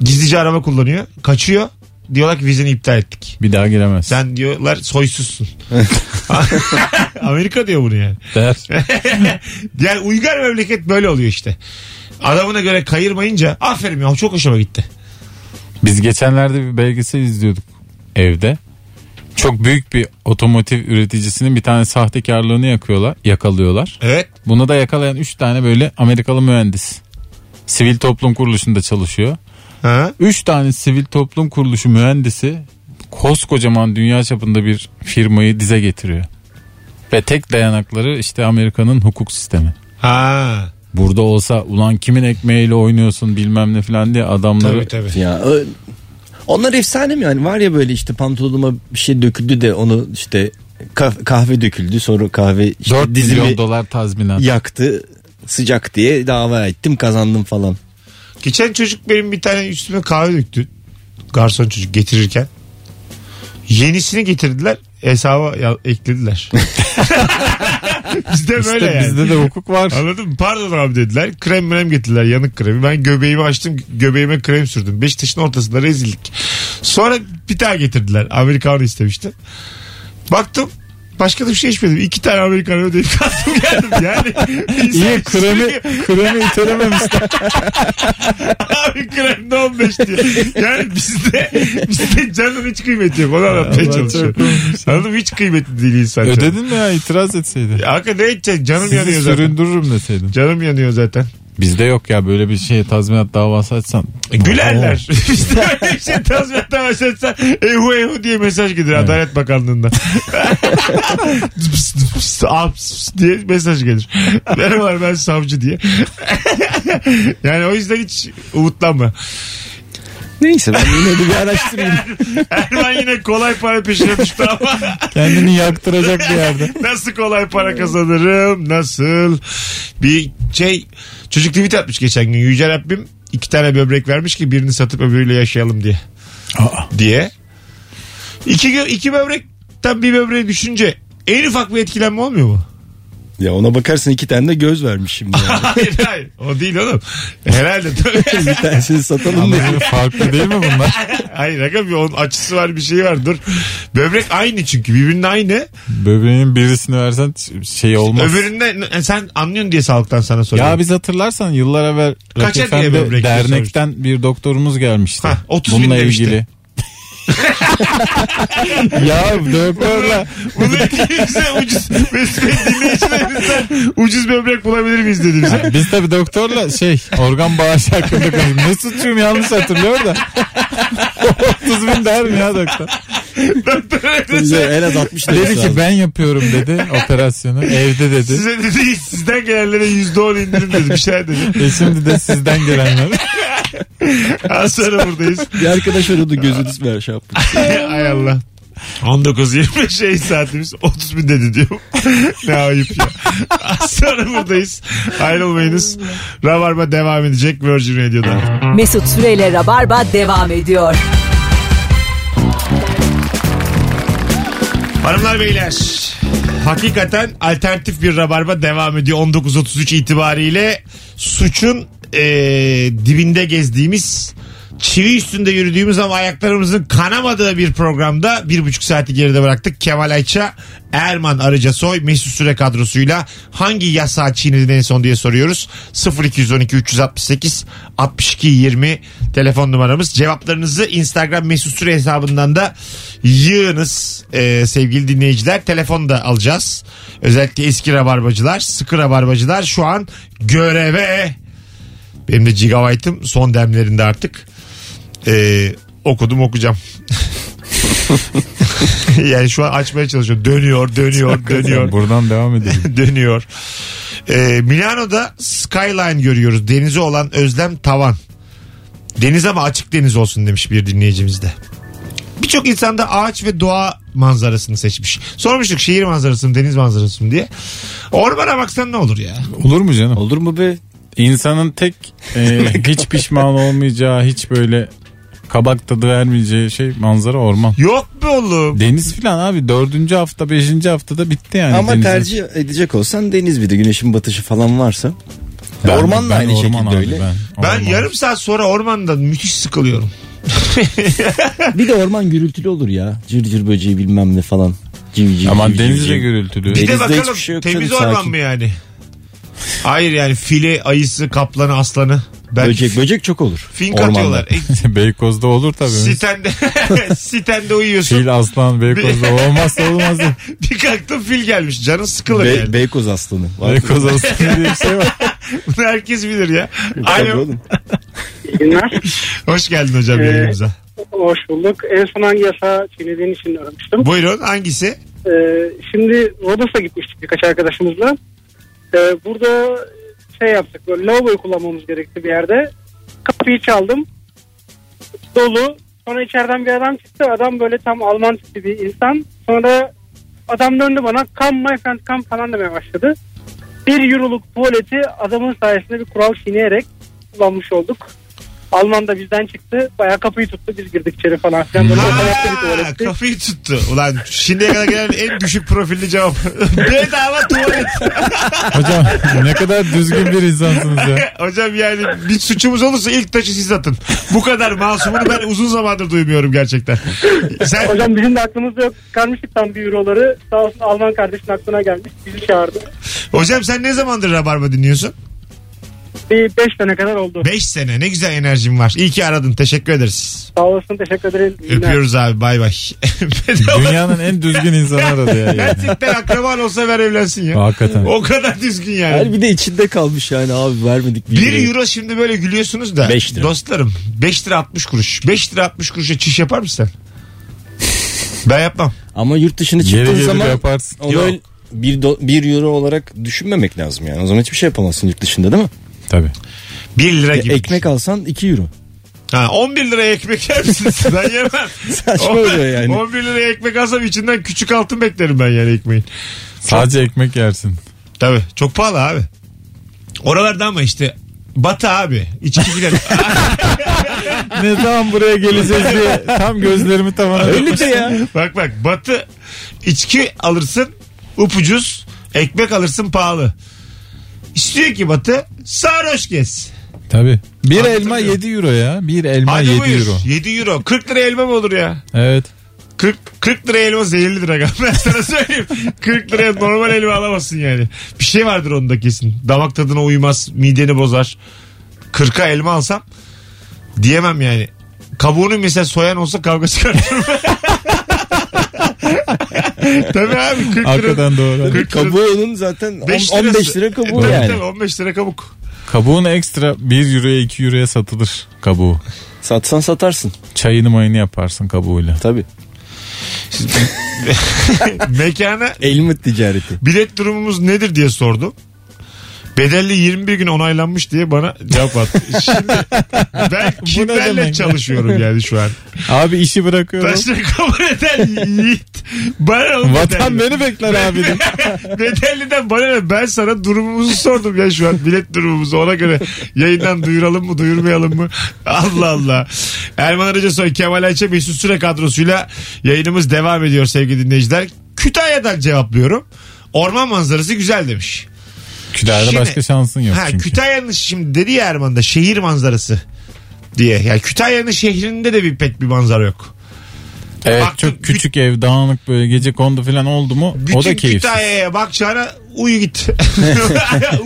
[SPEAKER 2] Gizlice araba kullanıyor. Kaçıyor. Diyorlar ki vizeni iptal ettik.
[SPEAKER 3] Bir daha giremez.
[SPEAKER 2] Sen diyorlar soysuzsun. Amerika diyor bunu yani.
[SPEAKER 3] Der.
[SPEAKER 2] Yani uygar memleket böyle oluyor işte. Adamına göre kayırmayınca aferin ya çok hoşuma gitti.
[SPEAKER 3] Biz geçenlerde bir belgesel izliyorduk evde. Çok büyük bir otomotiv üreticisinin bir tane sahtekarlığını yakıyorlar, yakalıyorlar.
[SPEAKER 2] Evet.
[SPEAKER 3] Bunu da yakalayan 3 tane böyle Amerikalı mühendis. Sivil toplum kuruluşunda çalışıyor.
[SPEAKER 2] Ha?
[SPEAKER 3] 3 tane sivil toplum kuruluşu mühendisi koskocaman dünya çapında bir firmayı dize getiriyor. Ve tek dayanakları işte Amerika'nın hukuk sistemi.
[SPEAKER 2] Ha.
[SPEAKER 3] Burada olsa ulan kimin ekmeğiyle oynuyorsun bilmem ne falan diye adamları
[SPEAKER 2] Tabii tabii.
[SPEAKER 4] Ya ö- onlar efsane mi yani var ya böyle işte pantolonuma bir şey döküldü de onu işte kah- kahve döküldü sonra kahve işte
[SPEAKER 3] 4 milyon
[SPEAKER 4] dizimi
[SPEAKER 3] dolar tazminat.
[SPEAKER 4] yaktı sıcak diye dava ettim kazandım falan.
[SPEAKER 2] Geçen çocuk benim bir tane üstüme kahve döktü. Garson çocuk getirirken. Yenisini getirdiler. Hesaba ya- eklediler. Bizde
[SPEAKER 3] İşte
[SPEAKER 2] böyle yani.
[SPEAKER 3] bizde de hukuk var.
[SPEAKER 2] Anladın mı? Pardon abi dediler. Krem mrem getirdiler yanık kremi. Ben göbeğimi açtım göbeğime krem sürdüm. Beşiktaş'ın ortasında rezillik. Sonra bir tane getirdiler. Amerikanı istemiştim. Baktım başka da bir şey içmedim. İki tane Amerikanı ödeyip kalktım geldim. Yani şey-
[SPEAKER 3] İyi kremi, kremi itelememişler.
[SPEAKER 2] Abi kremde 15 diyor. Yani bizde bizde canın hiç kıymeti yok. Onu anlatmaya çalışıyorum. Anladın mı? Hiç kıymetli değil insan.
[SPEAKER 3] Ödedin mi ya itiraz etseydin?
[SPEAKER 2] Hakikaten ne edeceksin? Canım
[SPEAKER 3] Sizi
[SPEAKER 2] yanıyor zaten.
[SPEAKER 3] süründürürüm deseydin.
[SPEAKER 2] Canım yanıyor zaten.
[SPEAKER 3] Bizde yok ya böyle bir şeye tazminat davası açsan.
[SPEAKER 2] E, Gülerler. işte öyle bir şey tazminattan başlatsa ehu ehu diye mesaj gider Adalet Bakanlığı'ndan. Ps, ps, ah, ps diye mesaj gelir. Merhabalar ben savcı diye. yani o yüzden hiç umutlanma.
[SPEAKER 4] Neyse ben yine de bir araştırayım.
[SPEAKER 2] Erman yine kolay para peşine düştü ama
[SPEAKER 3] Kendini yaktıracak bir yerde.
[SPEAKER 2] nasıl kolay para kazanırım nasıl bir şey çocuk tweet atmış geçen gün Yüce Rabbim iki tane böbrek vermiş ki birini satıp öbürüyle yaşayalım diye. diye. İki, gö- iki böbrekten bir böbreğe düşünce en ufak bir etkilenme olmuyor mu?
[SPEAKER 4] ya ona bakarsın iki tane de göz vermiş şimdi. Yani.
[SPEAKER 2] hayır hayır o değil oğlum. Herhalde tabii.
[SPEAKER 4] bir tanesini satalım mı?
[SPEAKER 3] Ama farklı değil mi bunlar?
[SPEAKER 2] hayır aga bir onun açısı var bir şey var dur. Böbrek aynı çünkü birbirine aynı.
[SPEAKER 3] Böbreğin birisini versen ç- şey olmaz.
[SPEAKER 2] Öbüründe e, sen anlıyorsun diye sağlıktan sana soruyorum.
[SPEAKER 3] Ya biz hatırlarsan yıllar evvel
[SPEAKER 2] Kaça
[SPEAKER 3] Rakip
[SPEAKER 2] diye
[SPEAKER 3] Efendi
[SPEAKER 2] böbrek diye
[SPEAKER 3] dernekten bir doktorumuz gelmişti.
[SPEAKER 2] Hah, 30 bin
[SPEAKER 3] Bununla
[SPEAKER 2] demişti.
[SPEAKER 3] ilgili. ya doktorla.
[SPEAKER 2] Bunu ikimize ucuz Mesut Bey dinleyicilerimizden ucuz böbrek bulabilir miyiz dedi bize.
[SPEAKER 3] Biz tabii doktorla şey organ bağışı hakkında konuşuyoruz. Mesut'cum yanlış hatırlıyor da. 30 bin der mi ya doktor?
[SPEAKER 4] Bize en az 60 lirası
[SPEAKER 3] Dedi ki
[SPEAKER 4] lazım.
[SPEAKER 3] ben yapıyorum dedi operasyonu. Evde dedi.
[SPEAKER 2] Size dedi sizden gelenlere yüzde on indirim dedi bir şeyler dedi.
[SPEAKER 3] E şimdi de sizden gelenler.
[SPEAKER 2] Az sonra buradayız.
[SPEAKER 4] Bir arkadaş aradı gözünüz ver şey yaptı.
[SPEAKER 2] Ay Allah. 19-20 şey saatimiz 30 bin dedi diyor. ne ayıp ya. Az sonra buradayız. Ayrılmayınız. Rabarba devam edecek Virgin Radio'da.
[SPEAKER 1] Mesut Süreyle Rabarba devam ediyor.
[SPEAKER 2] Hanımlar beyler hakikaten alternatif bir rabarba devam ediyor 19.33 itibariyle suçun eee, dibinde gezdiğimiz çivi üstünde yürüdüğümüz ama ayaklarımızın kanamadığı bir programda bir buçuk saati geride bıraktık. Kemal Ayça, Erman Arıca Soy, Mesut Süre kadrosuyla hangi yasağı çiğnedin en son diye soruyoruz. 0212 368 62 20 telefon numaramız. Cevaplarınızı Instagram Mesut Süre hesabından da yığınız e, sevgili dinleyiciler. Telefon da alacağız. Özellikle eski rabarbacılar, sıkı rabarbacılar şu an göreve. Benim de gigabyte'ım son demlerinde artık. E, okudum okuyacağım. yani şu an açmaya çalışıyorum. Dönüyor, dönüyor, dönüyor
[SPEAKER 3] Buradan devam edelim.
[SPEAKER 2] dönüyor. Ee, Milano'da skyline görüyoruz. Denize olan özlem tavan. Deniz ama açık deniz olsun demiş bir dinleyicimiz de. Birçok insan da ağaç ve doğa manzarasını seçmiş. Sormuştuk şehir manzarası mı deniz manzarası mı diye. Ormana baksan ne olur ya?
[SPEAKER 3] Olur mu canım?
[SPEAKER 4] Olur mu be?
[SPEAKER 3] İnsanın tek e, hiç pişman olmayacağı, hiç böyle kabak tadı vermeyeceği şey manzara orman.
[SPEAKER 2] Yok be oğlum?
[SPEAKER 3] Deniz filan abi dördüncü hafta beşinci haftada bitti yani.
[SPEAKER 4] Ama
[SPEAKER 3] denizin.
[SPEAKER 4] tercih edecek olsan deniz bir de güneşin batışı falan varsa.
[SPEAKER 3] Ben-
[SPEAKER 4] orman da
[SPEAKER 3] ben
[SPEAKER 4] aynı
[SPEAKER 3] orman
[SPEAKER 4] şekilde
[SPEAKER 3] abi,
[SPEAKER 4] öyle.
[SPEAKER 2] Ben
[SPEAKER 3] orman.
[SPEAKER 2] yarım saat sonra ormanda müthiş sıkılıyorum.
[SPEAKER 4] Bir de orman gürültülü olur ya. Cır cır böceği bilmem ne falan. Civ civ
[SPEAKER 3] Aman
[SPEAKER 4] civ
[SPEAKER 3] deniz
[SPEAKER 4] civ
[SPEAKER 3] de
[SPEAKER 4] civ.
[SPEAKER 2] Bir
[SPEAKER 3] gürültülü.
[SPEAKER 2] de
[SPEAKER 4] Denizde hiçbir
[SPEAKER 2] bakalım
[SPEAKER 4] şey yok
[SPEAKER 2] temiz
[SPEAKER 4] canım,
[SPEAKER 2] orman
[SPEAKER 4] sakin.
[SPEAKER 2] mı yani? Hayır yani file, ayısı, kaplanı, aslanı. Ben
[SPEAKER 4] Böcek böcek çok olur.
[SPEAKER 2] fink
[SPEAKER 4] ormanda.
[SPEAKER 2] atıyorlar. E,
[SPEAKER 3] Beykoz'da olur tabii.
[SPEAKER 2] sitende, sitende uyuyorsun.
[SPEAKER 3] Fil aslan Beykoz'da olmazsa olmaz.
[SPEAKER 2] Bir kalktım fil gelmiş. Canın sıkılır
[SPEAKER 4] Be-
[SPEAKER 2] yani.
[SPEAKER 4] Beykoz aslanı.
[SPEAKER 3] Beykoz aslan diye bir şey var.
[SPEAKER 2] Bunu herkes bilir ya.
[SPEAKER 4] Tabii
[SPEAKER 2] Alo.
[SPEAKER 4] oğlum.
[SPEAKER 2] Hoş geldin
[SPEAKER 7] Ee,
[SPEAKER 2] hocam yayınımıza.
[SPEAKER 7] Hoş bulduk. En son hangi yasağı çiğnediğin için aramıştım.
[SPEAKER 2] Buyurun hangisi?
[SPEAKER 7] Ee, şimdi Rodos'a gitmiştik birkaç arkadaşımızla. Ee, burada şey yaptık böyle lavaboyu kullanmamız gerekti bir yerde. Kapıyı çaldım. Dolu. Sonra içeriden bir adam çıktı. Adam böyle tam Alman tipi bir insan. Sonra adam döndü bana come my friend come falan demeye başladı. Bir euroluk tuvaleti adamın sayesinde bir kural çiğneyerek kullanmış olduk. Alman da bizden çıktı. Bayağı kapıyı tuttu. Biz girdik içeri falan filan. Böyle otanaklı bir
[SPEAKER 2] Aa,
[SPEAKER 7] tuvaletti.
[SPEAKER 2] kafayı tuttu. Ulan şimdiye kadar gelen en düşük profilli cevap. Bedava tuvalet.
[SPEAKER 3] Hocam ne kadar düzgün bir insansınız ya.
[SPEAKER 2] Hocam yani bir suçumuz olursa ilk taşı siz atın. Bu kadar masumunu ben uzun zamandır duymuyorum gerçekten. Sen
[SPEAKER 7] Hocam bizim de aklımızda yok. Çıkarmıştık tam bir euroları. Sağ olsun Alman kardeşin aklına gelmiş. Bizi çağırdı.
[SPEAKER 2] hocam sen ne zamandır Rabarba dinliyorsun?
[SPEAKER 7] Bir 5 sene kadar oldu.
[SPEAKER 2] 5 sene. Ne güzel enerjim var. İyi ki aradın. Teşekkür ederiz.
[SPEAKER 7] Sağ olasın teşekkür ederim. İyi günler.
[SPEAKER 2] Öpüyoruz abi. Bay bay. Bedava
[SPEAKER 3] Dünyanın en düzgün insanı aradı ya. yani.
[SPEAKER 2] Gerçekten akraban olsa ver evlensin ya.
[SPEAKER 3] Hakikaten.
[SPEAKER 2] O kadar düzgün
[SPEAKER 4] Her
[SPEAKER 2] yani.
[SPEAKER 4] bir de içinde kalmış yani abi vermedik. bir lirayı.
[SPEAKER 2] Bir euro şimdi böyle gülüyorsunuz da.
[SPEAKER 4] Beş lira.
[SPEAKER 2] Dostlarım 5 lira 60 kuruş. 5 lira 60 kuruşa çiş yapar mısın sen? Ben yapmam.
[SPEAKER 4] Ama yurt dışına
[SPEAKER 3] Geri
[SPEAKER 4] çıktığın
[SPEAKER 3] gelir
[SPEAKER 4] zaman
[SPEAKER 3] yaparsın.
[SPEAKER 4] onu öyle bir, do- bir euro olarak düşünmemek lazım yani. O zaman hiçbir şey yapamazsın yurt dışında değil mi?
[SPEAKER 2] 1 lira gibi.
[SPEAKER 4] E, Ekmek alsan 2 euro.
[SPEAKER 2] Ha, 11 liraya ekmek yer misiniz? ben yemem.
[SPEAKER 4] Saçma oluyor yani.
[SPEAKER 2] 11 liraya ekmek alsam içinden küçük altın beklerim ben yani ekmeğin.
[SPEAKER 3] Sadece ekmek yersin.
[SPEAKER 2] Tabii çok pahalı abi. Oralarda ama işte Batı abi. İçki gider.
[SPEAKER 3] Ne zaman buraya geleceğiz diye tam gözlerimi tavana
[SPEAKER 4] Öyledir ya.
[SPEAKER 2] bak bak batı içki alırsın upucuz ekmek alırsın pahalı. İstiyor ki batı sarhoş gez.
[SPEAKER 3] Tabii. Bir
[SPEAKER 2] Anlatabiliyor
[SPEAKER 3] elma
[SPEAKER 2] muyum?
[SPEAKER 3] 7 euro ya. Bir elma
[SPEAKER 2] Hadi
[SPEAKER 3] 7
[SPEAKER 2] buyur.
[SPEAKER 3] euro.
[SPEAKER 2] 7 euro. 40 lira elma mı olur ya?
[SPEAKER 3] Evet.
[SPEAKER 2] 40, 40 lira elma zehirlidir aga. Ben sana söyleyeyim. 40 liraya normal elma alamazsın yani. Bir şey vardır onda kesin. Damak tadına uymaz. Mideni bozar. 40'a elma alsam diyemem yani. Kabuğunu mesela soyan olsa kavga çıkartırım. Tabii abi 40 lira.
[SPEAKER 3] Arkadan doğru.
[SPEAKER 2] Kırk-
[SPEAKER 4] Kabuğu onun zaten
[SPEAKER 2] Beş
[SPEAKER 4] 15
[SPEAKER 2] lirası. E,
[SPEAKER 4] lira kabuğu
[SPEAKER 2] Tabii
[SPEAKER 4] yani.
[SPEAKER 2] tabii, 15 lira kabuk.
[SPEAKER 3] Kabuğunu ekstra 1 euroya 2 euroya satılır kabuğu.
[SPEAKER 4] Satsan satarsın
[SPEAKER 3] Çayını mayını yaparsın kabuğuyla.
[SPEAKER 4] tabii.
[SPEAKER 2] Mekana
[SPEAKER 4] Elma ticareti.
[SPEAKER 2] bilet durumumuz nedir diye sordu. Bedelli 21 gün onaylanmış diye bana cevap attı. Şimdi ben kimlerle
[SPEAKER 3] demek?
[SPEAKER 2] çalışıyorum yani şu an?
[SPEAKER 3] Abi işi bırakıyorum.
[SPEAKER 2] Taşları kabul eden yiğit. Bana o
[SPEAKER 3] Vatan
[SPEAKER 2] bedelli.
[SPEAKER 3] beni bekler abi. de.
[SPEAKER 2] Bedelliden bana ne? Ben sana durumumuzu sordum ya şu an. Bilet durumumuzu ona göre yayından duyuralım mı duyurmayalım mı? Allah Allah. Erman Arıcasoy, Kemal Ayça, Mesut Süre kadrosuyla yayınımız devam ediyor sevgili dinleyiciler. Kütahya'dan cevaplıyorum. Orman manzarası güzel demiş.
[SPEAKER 3] Kütahya'da
[SPEAKER 2] Şimdi-
[SPEAKER 3] başka şansın yok
[SPEAKER 2] Ha,
[SPEAKER 3] çünkü.
[SPEAKER 2] Kütahya'nın şimdi dedi ya Erman da şehir manzarası diye. Yani Kütahya'nın şehrinde de bir pek bir manzara yok.
[SPEAKER 3] Evet
[SPEAKER 2] Baktın,
[SPEAKER 3] çok küçük ev dağınık böyle gece kondu falan oldu mu
[SPEAKER 2] Bütün
[SPEAKER 3] o da keyifsiz.
[SPEAKER 2] Kütahya'ya bakacağına uyu git.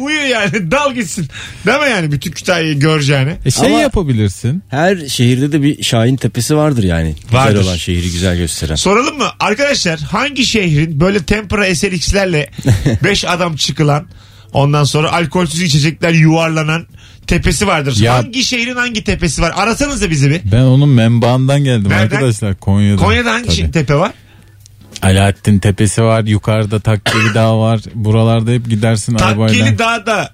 [SPEAKER 2] uyu yani dal gitsin. Değil mi yani bütün Kütahya'yı göreceğine?
[SPEAKER 3] E şey
[SPEAKER 4] Ama-
[SPEAKER 3] yapabilirsin.
[SPEAKER 4] Her şehirde de bir Şahin Tepesi vardır yani.
[SPEAKER 2] Vardır.
[SPEAKER 4] Güzel olan şehri güzel gösteren.
[SPEAKER 2] Soralım mı? Arkadaşlar hangi şehrin böyle tempera SLX'lerle 5 adam çıkılan ondan sonra alkolsüz içecekler yuvarlanan tepesi vardır.
[SPEAKER 3] Ya-
[SPEAKER 2] Hangi şehrin hangi tepesi var? Arasanız da bizi bir.
[SPEAKER 3] Ben onun menbaından geldim
[SPEAKER 2] Nereden?
[SPEAKER 3] arkadaşlar Konya'da.
[SPEAKER 2] Konya'da hangi şey?
[SPEAKER 3] Tabii.
[SPEAKER 2] tepe var?
[SPEAKER 3] Alaaddin Tepesi var yukarıda Takkeli Dağ var buralarda hep gidersin arabayla.
[SPEAKER 2] Takkeli Dağ'da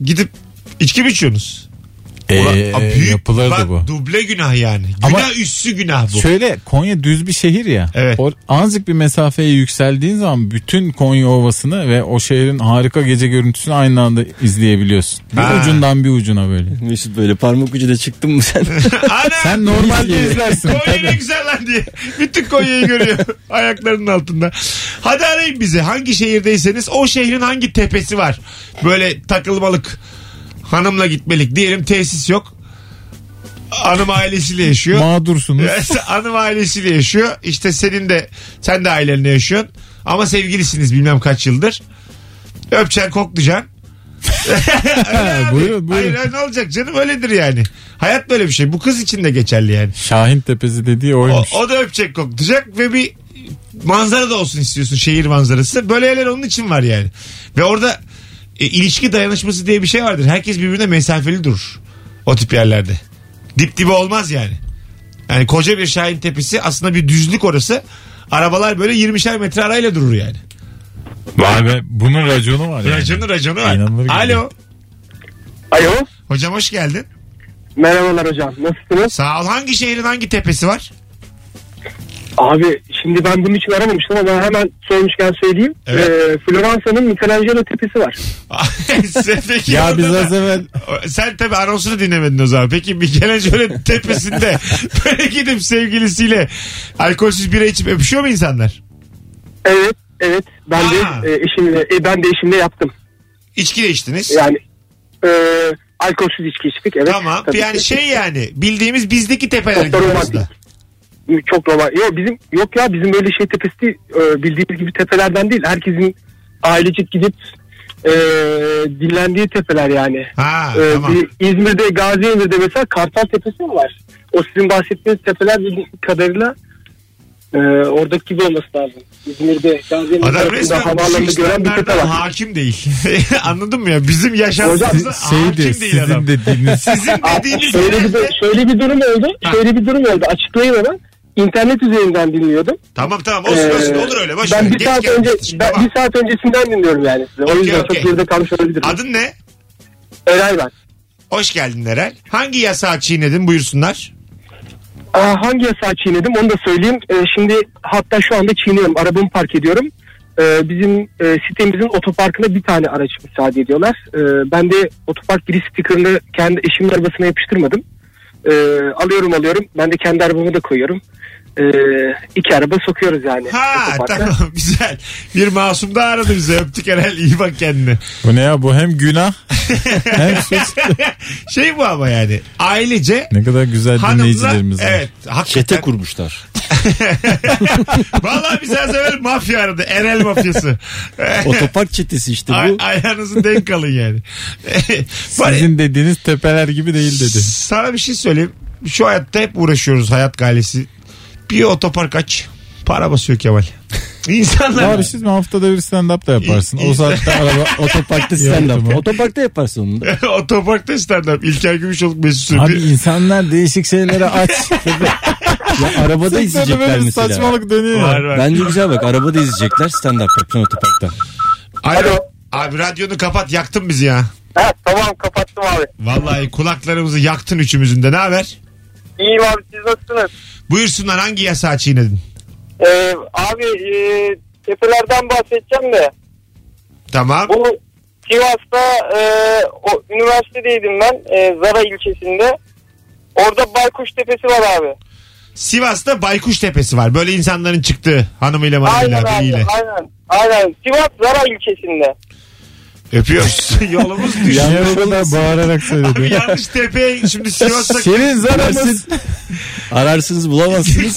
[SPEAKER 2] gidip içki mi içiyorsunuz? Ulan,
[SPEAKER 3] Ee,
[SPEAKER 2] a, büyük-
[SPEAKER 3] yapılırdı
[SPEAKER 2] bak,
[SPEAKER 3] bu.
[SPEAKER 2] Duble günah yani. Günah
[SPEAKER 3] Ama-
[SPEAKER 2] üstü günah bu.
[SPEAKER 3] Şöyle Konya düz bir şehir ya.
[SPEAKER 2] Evet.
[SPEAKER 3] O, azıcık bir mesafeye yükseldiğin zaman bütün Konya Ovası'nı ve o şehrin harika gece görüntüsünü aynı anda izleyebiliyorsun. Bir
[SPEAKER 2] Ha.
[SPEAKER 3] ucundan bir ucuna böyle.
[SPEAKER 4] Mesut böyle parmak ucuyla çıktın mı sen?
[SPEAKER 2] Ana!
[SPEAKER 3] Sen normalde izlersin.
[SPEAKER 2] Konya ne
[SPEAKER 3] tabii.
[SPEAKER 2] güzel lan diye. Bütün Konya'yı görüyor ayaklarının altında. Hadi arayın bizi. Hangi şehirdeyseniz o şehrin hangi tepesi var? Böyle takılmalık, hanımla gitmelik. Diyelim tesis yok. Hanım ailesiyle yaşıyor.
[SPEAKER 3] Mağdursunuz.
[SPEAKER 2] Hanım ailesiyle yaşıyor. İşte senin de sen de ailenle yaşıyorsun. Ama sevgilisiniz bilmem kaç yıldır. Öpeceksin koklayacaksın. Öyle abi.
[SPEAKER 3] Buyurun, buyurun.
[SPEAKER 2] Hayır, hayır, ne olacak canım öyledir yani. Hayat böyle bir şey. Bu kız için de geçerli yani.
[SPEAKER 3] Şahin Tepesi dediği
[SPEAKER 2] O,
[SPEAKER 3] oymuş.
[SPEAKER 2] o da öpecek koklayacak ve bir manzara da olsun istiyorsun şehir manzarası. Böyle yerler onun için var yani. Ve orada e, ilişki dayanışması diye bir şey vardır. Herkes birbirine mesafeli durur. O tip yerlerde. Dip dibe olmaz yani. Yani koca bir Şahin Tepesi aslında bir düzlük orası. Arabalar böyle 20'şer metre arayla durur yani.
[SPEAKER 3] Vay be bunun raconu var yani.
[SPEAKER 2] Raconu raconu var.
[SPEAKER 3] İnanılır gibi.
[SPEAKER 2] Alo.
[SPEAKER 7] Alo.
[SPEAKER 2] Hocam hoş geldin.
[SPEAKER 7] Merhabalar hocam. Nasılsınız?
[SPEAKER 2] Sağ ol. Hangi şehrin hangi tepesi var?
[SPEAKER 7] Abi şimdi ben bunun için aramamıştım ama hemen sormuşken söyleyeyim.
[SPEAKER 2] Evet.
[SPEAKER 7] Ee, Floransa'nın Michelangelo tepesi var.
[SPEAKER 2] Sen peki
[SPEAKER 3] Ya
[SPEAKER 2] orada
[SPEAKER 3] biz
[SPEAKER 2] da-
[SPEAKER 3] az evvel
[SPEAKER 2] Sen tabi anonsunu dinlemedin o zaman. Peki Michelangelo tepesinde böyle gidip sevgilisiyle alkolsüz bira içip öpüşüyor mu insanlar?
[SPEAKER 7] Evet. Evet. Ben
[SPEAKER 2] Aa.
[SPEAKER 7] de e, eşimle e, ben de eşimle yaptım.
[SPEAKER 2] İçki de içtiniz.
[SPEAKER 7] Yani e, alkolsüz içki içtik. Evet.
[SPEAKER 2] tamam.
[SPEAKER 7] Tabii
[SPEAKER 2] yani
[SPEAKER 7] ki.
[SPEAKER 2] şey yani bildiğimiz bizdeki tepeler
[SPEAKER 7] Çok
[SPEAKER 2] gibi
[SPEAKER 7] da
[SPEAKER 2] aslında.
[SPEAKER 7] romantik. Çok romantik. Yok bizim yok ya bizim böyle şey tepesi değil, e, bildiğimiz gibi tepelerden değil. Herkesin ailecik gidip e, dinlendiği tepeler yani.
[SPEAKER 2] Ha
[SPEAKER 7] Ee,
[SPEAKER 2] tamam.
[SPEAKER 7] bir İzmir'de Gaziemir'de mesela Kartal Tepesi mi var? O sizin bahsettiğiniz tepeler bildiğim kadarıyla e, oradaki gibi olması lazım. İzmir'de Gaziemir'de
[SPEAKER 2] Adam
[SPEAKER 7] tarafında
[SPEAKER 2] resmen şey
[SPEAKER 7] havaalanını
[SPEAKER 2] bu
[SPEAKER 7] gören bir tepe
[SPEAKER 2] standartlardan
[SPEAKER 7] var.
[SPEAKER 2] hakim değil. Anladın mı ya? Bizim yaşantımıza hakim
[SPEAKER 3] şeydi
[SPEAKER 2] değil
[SPEAKER 3] şey sizin
[SPEAKER 2] adam.
[SPEAKER 3] dediğiniz
[SPEAKER 2] Sizin
[SPEAKER 7] Aa,
[SPEAKER 2] dediğiniz
[SPEAKER 7] şöyle, bir,
[SPEAKER 2] yerde-
[SPEAKER 7] du- şöyle bir durum oldu.
[SPEAKER 2] Ha.
[SPEAKER 7] Şöyle bir durum oldu. Açıklayayım hemen. İnternet üzerinden dinliyordum.
[SPEAKER 2] Tamam tamam olsun
[SPEAKER 7] Ee,
[SPEAKER 2] olsun olur öyle. Boş
[SPEAKER 7] ben
[SPEAKER 2] ver.
[SPEAKER 7] bir
[SPEAKER 2] Geç
[SPEAKER 7] saat önce
[SPEAKER 2] gelmiştir.
[SPEAKER 7] ben
[SPEAKER 2] Tamam.
[SPEAKER 7] bir saat öncesinden dinliyorum yani. sizi. O
[SPEAKER 2] Okey,
[SPEAKER 7] yüzden
[SPEAKER 2] okey.
[SPEAKER 7] çok geride kalmış olabilirim.
[SPEAKER 2] Adın ne?
[SPEAKER 7] Eray ben.
[SPEAKER 2] Hoş geldin Eren. Hangi yasağı çiğnedin buyursunlar?
[SPEAKER 7] Aa, hangi yasağı çiğnedim onu da söyleyeyim. Ee, şimdi hatta şu anda çiğniyorum. Arabamı park ediyorum. Ee, bizim e, sitemizin otoparkına bir tane araç müsaade ediyorlar. Ee, ben de otopark giriş stikerini kendi eşimin arabasına yapıştırmadım. Ee, alıyorum alıyorum. Ben de kendi arabamı da koyuyorum. Ee, iki araba sokuyoruz yani.
[SPEAKER 2] Ha
[SPEAKER 7] otoparka.
[SPEAKER 2] tamam güzel. Bir masum da aradı bize. Öptük herhal iyi bak kendine.
[SPEAKER 3] Bu ne ya bu hem günah hem suç.
[SPEAKER 2] şey bu ama yani ailece
[SPEAKER 3] Ne kadar güzel
[SPEAKER 2] hanımla
[SPEAKER 3] dinleyicilerimiz var.
[SPEAKER 2] evet
[SPEAKER 4] Çete
[SPEAKER 2] hakikaten.
[SPEAKER 4] kurmuşlar.
[SPEAKER 2] Vallahi biz az evvel mafya aradı. Erel mafyası.
[SPEAKER 4] Otopark çetesi işte
[SPEAKER 2] Ay-
[SPEAKER 4] bu.
[SPEAKER 2] ayağınızın denk kalın yani. Bari-
[SPEAKER 3] Sizin dediğiniz tepeler gibi değil dedi.
[SPEAKER 2] Sana bir şey söyleyeyim. şu hayatta hep uğraşıyoruz hayat galesi. Bir otopark aç. Para basıyor Kemal. İnsanlar
[SPEAKER 3] Abi siz mi haftada bir şey- stand up da yaparsın.
[SPEAKER 2] İ-
[SPEAKER 3] O saatte araba
[SPEAKER 4] Otoparkta
[SPEAKER 3] stand-up.
[SPEAKER 4] stand-up. Otoparkta yaparsın onu da.
[SPEAKER 2] otoparkta stand up. İlker Gümüşoluk Mesut Sürdü.
[SPEAKER 3] Abi insanlar değişik şeylere aç.
[SPEAKER 4] Ya arabada izleyecekler
[SPEAKER 3] böyle bir
[SPEAKER 4] mesela.
[SPEAKER 3] saçmalık dönüyor.
[SPEAKER 2] Var var.
[SPEAKER 4] Bence güzel bak arabada izleyecekler stand-up yapacaksın otoparkta.
[SPEAKER 2] Alo. Abi radyonu kapat yaktın bizi ya.
[SPEAKER 5] Ha, tamam kapattım abi.
[SPEAKER 2] Vallahi kulaklarımızı yaktın üçümüzün de ne haber?
[SPEAKER 5] İyiyim abi siz nasılsınız?
[SPEAKER 2] Buyursunlar hangi yasağı çiğnedin?
[SPEAKER 5] Ee, abi e, tepelerden bahsedeceğim de
[SPEAKER 2] Tamam.
[SPEAKER 5] bu Sivas'ta e, o, üniversitedeydim ben e, Zara ilçesinde. Orada Baykuş Tepesi var abi.
[SPEAKER 2] Sivas'ta Baykuş Tepesi var. Böyle insanların çıktığı hanımıyla
[SPEAKER 5] Aynen
[SPEAKER 2] manıyla
[SPEAKER 5] abi
[SPEAKER 2] biriyle.
[SPEAKER 5] aynen. Aynen Sivas Zara ilçesinde.
[SPEAKER 2] Öpüyoruz. Yolumuz düştü.
[SPEAKER 3] Yani o kadar bağırarak
[SPEAKER 2] Abi
[SPEAKER 3] söyledi.
[SPEAKER 2] yanlış tepeye şimdi Sivas'ta
[SPEAKER 3] Senin zararınız
[SPEAKER 4] Ararsınız bulamazsınız.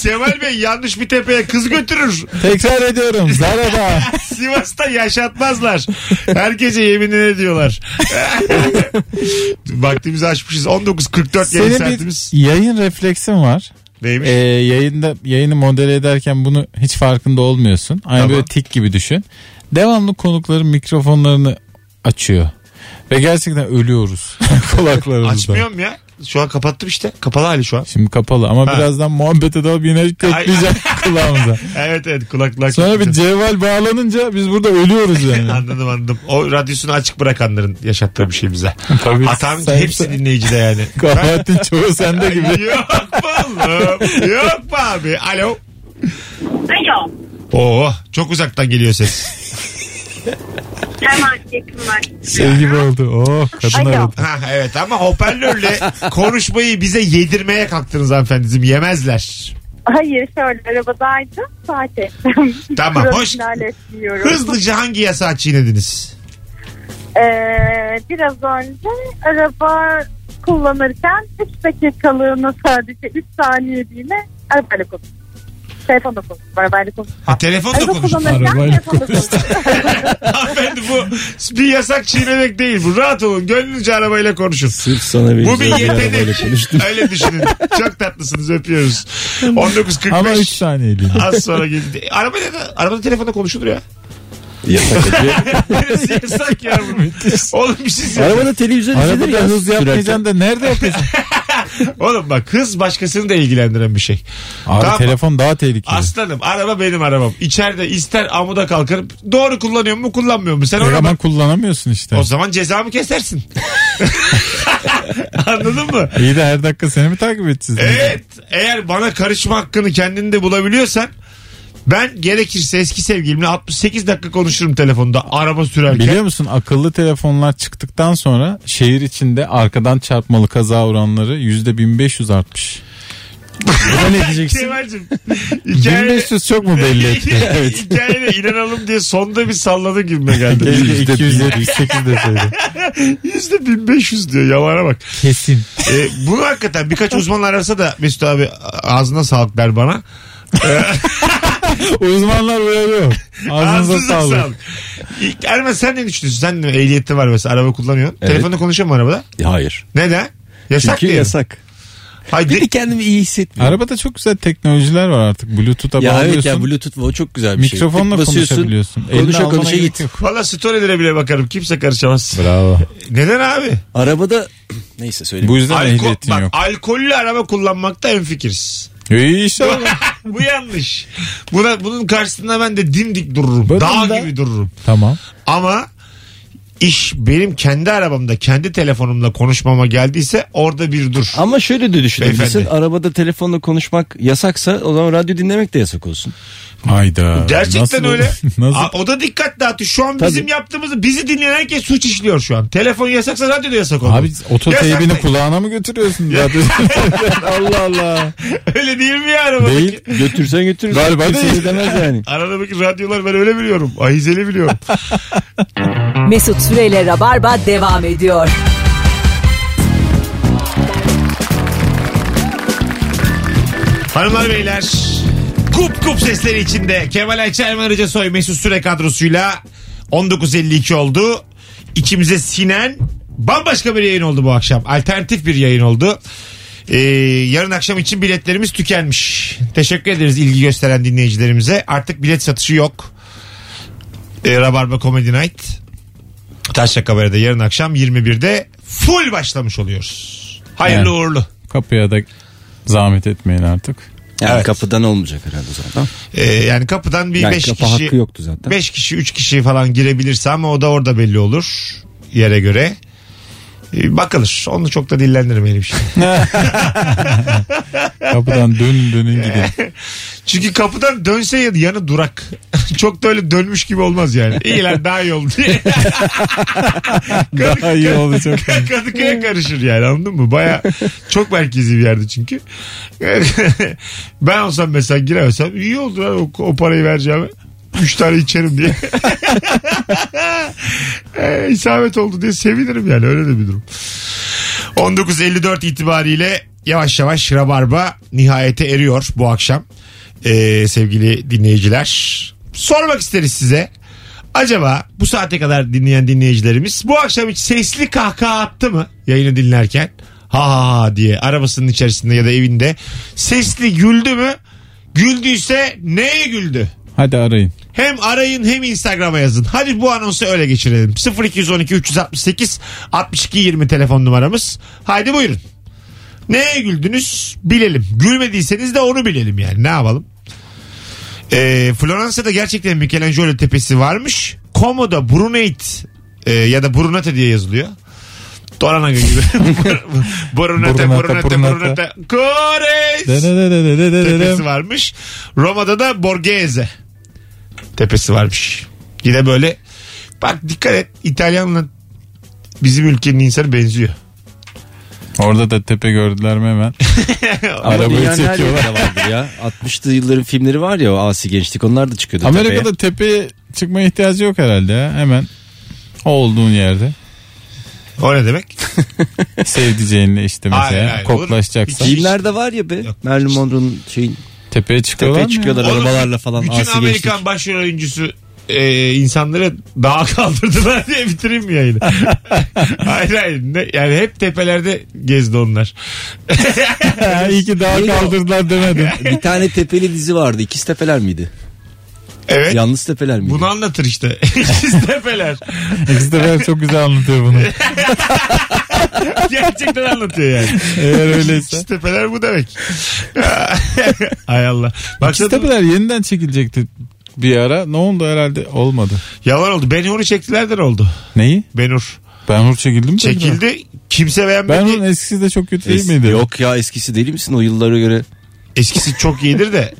[SPEAKER 2] Seval Bey yanlış bir tepeye kız götürür.
[SPEAKER 3] tekrar ediyorum zarara.
[SPEAKER 2] Sivas'ta yaşatmazlar. Her gece yeminini ediyorlar. Vaktimizi aşmışız. 19.44 yayın
[SPEAKER 3] Senin bir
[SPEAKER 2] saatimiz.
[SPEAKER 3] yayın refleksin var.
[SPEAKER 2] Neymiş?
[SPEAKER 3] Ee, yayında yayını modere ederken bunu hiç farkında olmuyorsun. Aynı
[SPEAKER 2] Tamam.
[SPEAKER 3] böyle tik gibi düşün. Devamlı konukların mikrofonlarını açıyor. Ve gerçekten ölüyoruz kulaklarımızda.
[SPEAKER 2] Açmıyorum ya. Şu an kapattım işte. Kapalı hali şu an.
[SPEAKER 3] Şimdi kapalı ama
[SPEAKER 2] Ha.
[SPEAKER 3] birazdan muhabbete dalıp yine kökleyecek kulağımıza.
[SPEAKER 2] Evet evet kulak kulak.
[SPEAKER 3] Sonra bir cevval bağlanınca biz burada ölüyoruz yani.
[SPEAKER 2] Anladım anladım. O radyosunu açık bırakanların yaşattığı bir şey bize.
[SPEAKER 3] Tabii.
[SPEAKER 2] Hatam
[SPEAKER 3] Sen-
[SPEAKER 2] hepsi dinleyicide yani.
[SPEAKER 3] Kabahatin çoğu sende gibi.
[SPEAKER 2] Yok be oğlum. Yok be abi. Alo.
[SPEAKER 8] Alo.
[SPEAKER 2] Oo çok uzaktan geliyor ses.
[SPEAKER 8] Hemen yakınlar.
[SPEAKER 3] Şey gibi oldu. Oh kadın
[SPEAKER 8] Alo.
[SPEAKER 3] aradı.
[SPEAKER 2] Ha, evet ama hoparlörle konuşmayı bize yedirmeye kalktınız hanımefendiciğim. Yemezler.
[SPEAKER 8] Hayır şöyle arabadaydım. Saat ettim.
[SPEAKER 2] Tamam,
[SPEAKER 8] Biraz
[SPEAKER 2] hoş-
[SPEAKER 8] ihlal etmiyorum.
[SPEAKER 2] Hızlıca hangi yasağı çiğnediniz?
[SPEAKER 8] Ee, biraz önce araba kullanırken 3 dakikalığına sadece 3 saniyeliğine arabayla konuştum. Telefonla konuştum. Arabayla konuştum.
[SPEAKER 2] Ha, telefonla
[SPEAKER 8] Araba
[SPEAKER 2] konuştunuz.
[SPEAKER 8] kullanırken
[SPEAKER 3] Arabayla
[SPEAKER 8] telefonla konuştum.
[SPEAKER 2] Hanımefendi bu bir yasak çiğnemek değil. Bu rahat olun. Gönlünüzce arabayla konuşun.
[SPEAKER 4] Sırf sana bir
[SPEAKER 2] Bu bir
[SPEAKER 4] güzel arabayla
[SPEAKER 2] yetenek.
[SPEAKER 4] konuştum.
[SPEAKER 2] Öyle düşünün. Çok tatlısınız. Öpüyoruz.
[SPEAKER 3] Ama 3
[SPEAKER 2] 19.45.
[SPEAKER 3] saniyeliğine.
[SPEAKER 2] Az sonra geldi. Arabada, da- arabada telefonda konuşulur ya.
[SPEAKER 4] Yasak ediyor.
[SPEAKER 2] Neresi yasak ya bu? Oğlum bir şey söyleyeyim.
[SPEAKER 4] Arabada televizyon izlenir
[SPEAKER 3] Arabada
[SPEAKER 4] ya.
[SPEAKER 3] hız
[SPEAKER 4] sürerken.
[SPEAKER 3] yapmayacaksın da nerede yapıyorsun?
[SPEAKER 2] Oğlum bak hız başkasını da ilgilendiren bir şey.
[SPEAKER 3] Abi
[SPEAKER 2] Tamam.
[SPEAKER 3] telefon daha tehlikeli.
[SPEAKER 2] Aslanım araba benim arabam. İçeride ister amuda kalkarım. Doğru kullanıyor mu kullanmıyor mu? Sen
[SPEAKER 3] O
[SPEAKER 2] ona
[SPEAKER 3] zaman
[SPEAKER 2] bak.
[SPEAKER 3] kullanamıyorsun işte.
[SPEAKER 2] O zaman cezamı kesersin. Anladın mı?
[SPEAKER 3] İyi de her dakika seni mi takip edeceğiz?
[SPEAKER 2] Evet. Eğer bana karışma hakkını kendinde bulabiliyorsan ben gerekirse eski sevgilimle 68 dakika konuşurum telefonda araba sürerken.
[SPEAKER 3] Biliyor musun akıllı telefonlar çıktıktan sonra şehir içinde arkadan çarpmalı kaza oranları yüzde 1500 artmış. Buna ne diyeceksin?
[SPEAKER 2] Kemal'cim.
[SPEAKER 3] 1500 çok mu belli etti? Evet.
[SPEAKER 2] Hikayene inanalım diye sonda bir salladı gibime geldi.
[SPEAKER 3] Keşke 278 deseydi.
[SPEAKER 2] Yüzde 1500 diyor yalana bak.
[SPEAKER 3] Kesin.
[SPEAKER 2] E, bunu hakikaten birkaç uzman arasa da Mesut abi ağzına sağlık der bana.
[SPEAKER 3] Uzmanlar uyarıyor. Ağzınıza sağlık.
[SPEAKER 2] İlk- Erman sen ne düşünüyorsun? Sen de ehliyeti var mesela araba kullanıyorsun.
[SPEAKER 4] Evet.
[SPEAKER 2] Telefonda konuşuyor mu arabada?
[SPEAKER 4] Hayır.
[SPEAKER 2] Neden? Yasak
[SPEAKER 4] Çünkü
[SPEAKER 2] diye. mi?
[SPEAKER 4] yasak.
[SPEAKER 2] Hayır,
[SPEAKER 4] Bir
[SPEAKER 2] de-
[SPEAKER 4] de kendimi iyi hissetmiyorum.
[SPEAKER 3] Arabada çok güzel teknolojiler var artık. Bluetooth'a
[SPEAKER 4] Ya
[SPEAKER 3] bağlıyorsun.
[SPEAKER 4] evet ya Bluetooth o çok güzel bir şey.
[SPEAKER 3] mikrofonla
[SPEAKER 4] Tık basıyorsun,
[SPEAKER 3] konuşabiliyorsun. Elini
[SPEAKER 4] Konuşa
[SPEAKER 3] almana
[SPEAKER 4] konuşa
[SPEAKER 3] gerek
[SPEAKER 4] git.
[SPEAKER 3] yok.
[SPEAKER 2] Valla storylere bile bakarım. Kimse karışamaz.
[SPEAKER 3] Bravo.
[SPEAKER 2] Neden abi?
[SPEAKER 4] Arabada neyse söyleyeyim.
[SPEAKER 3] Bu yüzden
[SPEAKER 2] Alko-
[SPEAKER 3] ehliyetin
[SPEAKER 2] bak,
[SPEAKER 3] yok.
[SPEAKER 2] alkollü araba kullanmakta en fikiriz.
[SPEAKER 3] İyi inşallah.
[SPEAKER 2] Bu yanlış. Buna, bunun karşısında ben de dimdik dururum.
[SPEAKER 3] Bunun
[SPEAKER 2] Dağ
[SPEAKER 3] da-
[SPEAKER 2] gibi dururum.
[SPEAKER 3] tamam.
[SPEAKER 2] Ama iş benim kendi arabamda kendi telefonumla konuşmama geldiyse orada bir dur.
[SPEAKER 4] Ama şöyle de düşünebilirsin.
[SPEAKER 2] Beyefendi.
[SPEAKER 4] Arabada telefonla konuşmak yasaksa o zaman radyo dinlemek de yasak olsun.
[SPEAKER 3] Hayda.
[SPEAKER 2] Gerçekten
[SPEAKER 3] Nasıl-
[SPEAKER 2] öyle.
[SPEAKER 3] Nasıl?
[SPEAKER 2] A- o da dikkat dağıtıyor. Şu an
[SPEAKER 4] Tabii.
[SPEAKER 2] bizim yaptığımızı bizi dinleyen herkes suç işliyor şu an. Telefon yasaksa radyo da yasak olur.
[SPEAKER 3] Abi ototeybini
[SPEAKER 2] Yasak-
[SPEAKER 3] kulağına mı götürüyorsun? Radyo- Allah Allah.
[SPEAKER 2] Öyle değil mi ya arabadaki?
[SPEAKER 3] Değil.
[SPEAKER 4] Götürsen götürürsün.
[SPEAKER 3] Galiba
[SPEAKER 4] Kimse
[SPEAKER 3] değil.
[SPEAKER 4] de demez yani.
[SPEAKER 2] Aradaki radyolar ben öyle biliyorum. Ahizeli biliyorum.
[SPEAKER 1] Mesut Süreyle Rabarba devam ediyor.
[SPEAKER 2] Hanımlar beyler kup kup sesleri içinde Kemal Ayça Erman Arıca Soy Mesut Süre kadrosuyla 19.52 oldu. İçimize sinen bambaşka bir yayın oldu bu akşam. Alternatif bir yayın oldu. Ee, yarın akşam için biletlerimiz tükenmiş. Teşekkür ederiz ilgi gösteren dinleyicilerimize. Artık bilet satışı yok. Ee, Rabarba Comedy Night. Taşra Kabare'de yarın akşam 21'de full başlamış oluyoruz. Hayırlı
[SPEAKER 3] Evet.
[SPEAKER 2] uğurlu.
[SPEAKER 3] Kapıya da zahmet etmeyin artık.
[SPEAKER 4] Yani
[SPEAKER 2] Evet.
[SPEAKER 4] kapıdan olmayacak herhalde zaten.
[SPEAKER 2] Ee, yani kapıdan bir
[SPEAKER 4] Yani
[SPEAKER 2] 5
[SPEAKER 4] kapı
[SPEAKER 2] kişi
[SPEAKER 4] hakkı yoktu zaten.
[SPEAKER 2] 5 kişi 3 kişi falan girebilirse ama o da orada belli olur yere göre. Ee, bakılır. Onu çok da dillendirmeyelim şimdi.
[SPEAKER 3] Kapıdan dönün dönün gidin.
[SPEAKER 2] Çünkü kapıdan dönse ya- yanı durak. çok da öyle dönmüş gibi olmaz yani. İyi lan daha iyi oldu diye.
[SPEAKER 3] Daha iyi olacak.
[SPEAKER 2] Kadıköy'e karışır yani anladın mı? Baya çok merkezi bir yerdi çünkü. ben olsam mesela giremesem iyi oldu lan o, o parayı vereceğim. Üç tane içerim diye. Ee, isabet oldu diye sevinirim yani öyle de bir durum. 19.54 itibariyle yavaş yavaş Rabarba nihayete eriyor bu akşam. Ee, sevgili dinleyiciler. Sormak isteriz size. Acaba bu saate kadar dinleyen dinleyicilerimiz bu akşam hiç sesli kahkaha attı mı yayını dinlerken? Ha ha ha diye arabasının içerisinde ya da evinde sesli güldü mü? Güldüyse neye güldü?
[SPEAKER 3] Hadi arayın.
[SPEAKER 2] Hem arayın hem Instagram'a yazın. Hadi bu anonsu öyle geçirelim. 0212 368 62 20 telefon numaramız. Haydi buyurun. Neye güldünüz bilelim. Gülmediyseniz de onu bilelim yani ne yapalım. Ee, Floransa'da gerçekten Michelangelo tepesi varmış. Como'da Brunate e, ya da Brunate diye yazılıyor. Toranaga gibi. Brunate,
[SPEAKER 3] Brunate,
[SPEAKER 2] Brunate, Brunate.
[SPEAKER 3] Brunate.
[SPEAKER 2] Kores tepesi varmış. Roma'da da Borghese tepesi varmış. Yine böyle bak dikkat et İtalyanla bizim ülkenin insanı benziyor.
[SPEAKER 3] Orada da tepe gördüler mi hemen?
[SPEAKER 4] Ama
[SPEAKER 3] Arabayı
[SPEAKER 4] dünyanın her
[SPEAKER 3] çekiyorlar.
[SPEAKER 4] yerinde vardır ya. 60'lı yılların filmleri var ya o asi gençlik onlar da çıkıyordu tepeye.
[SPEAKER 3] Amerika'da tepeye çıkmaya ihtiyacı yok herhalde ya. Hemen o olduğun yerde.
[SPEAKER 2] O ne demek?
[SPEAKER 3] Sevdiceğinle işte mesela
[SPEAKER 2] Hayır, hayır, olur mu?
[SPEAKER 3] koklaşacaksan.
[SPEAKER 2] Hiç-
[SPEAKER 4] Filmlerde var ya be.
[SPEAKER 2] Yok.
[SPEAKER 4] Marilyn Monroe'nun şeyin
[SPEAKER 3] Tepeye çıkıyorlar
[SPEAKER 4] tepeye
[SPEAKER 3] mı ya?
[SPEAKER 4] çıkıyorlar
[SPEAKER 2] Oğlum,
[SPEAKER 4] arabalarla falan
[SPEAKER 2] Bütün
[SPEAKER 4] asi gençlik.
[SPEAKER 2] Amerikan başrol oyuncusu e, insanları dağa kaldırdılar diye bitireyim mi yayını? hayır hayır. Ne- yani hep tepelerde gezdi onlar.
[SPEAKER 3] Ha, İyi ki daha
[SPEAKER 4] Neydi o?
[SPEAKER 3] kaldırdılar demedim.
[SPEAKER 4] Bir tane tepeli dizi vardı. İkiz tepeler miydi?
[SPEAKER 2] Evet.
[SPEAKER 4] Yalnız tepeler miydi?
[SPEAKER 2] Bunu anlatır işte. İkiz tepeler.
[SPEAKER 3] İkisi de ben çok güzel anlatıyor bunu.
[SPEAKER 2] Gerçekten anlatıyor yani.
[SPEAKER 3] Eğer öyleyse.
[SPEAKER 2] İkiz tepeler bu demek. Hay Allah.
[SPEAKER 3] İkisi
[SPEAKER 2] Baksana
[SPEAKER 3] tepeler yeniden çekilecekti bir ara. Ne oldu herhalde? Olmadı.
[SPEAKER 2] Yalan oldu. Benhur'u çektiler de ne oldu?
[SPEAKER 3] Neyi?
[SPEAKER 2] Benhur.
[SPEAKER 3] Ben Hur çekildi mi?
[SPEAKER 2] Çekildi. Kimse
[SPEAKER 3] Ben
[SPEAKER 2] beğenmedi.
[SPEAKER 3] Hur'un eskisi de çok kötü değil
[SPEAKER 4] Es-
[SPEAKER 3] miydi?
[SPEAKER 4] Yok ya eskisi değil misin o yıllara göre?
[SPEAKER 2] Eskisi çok iyidir de.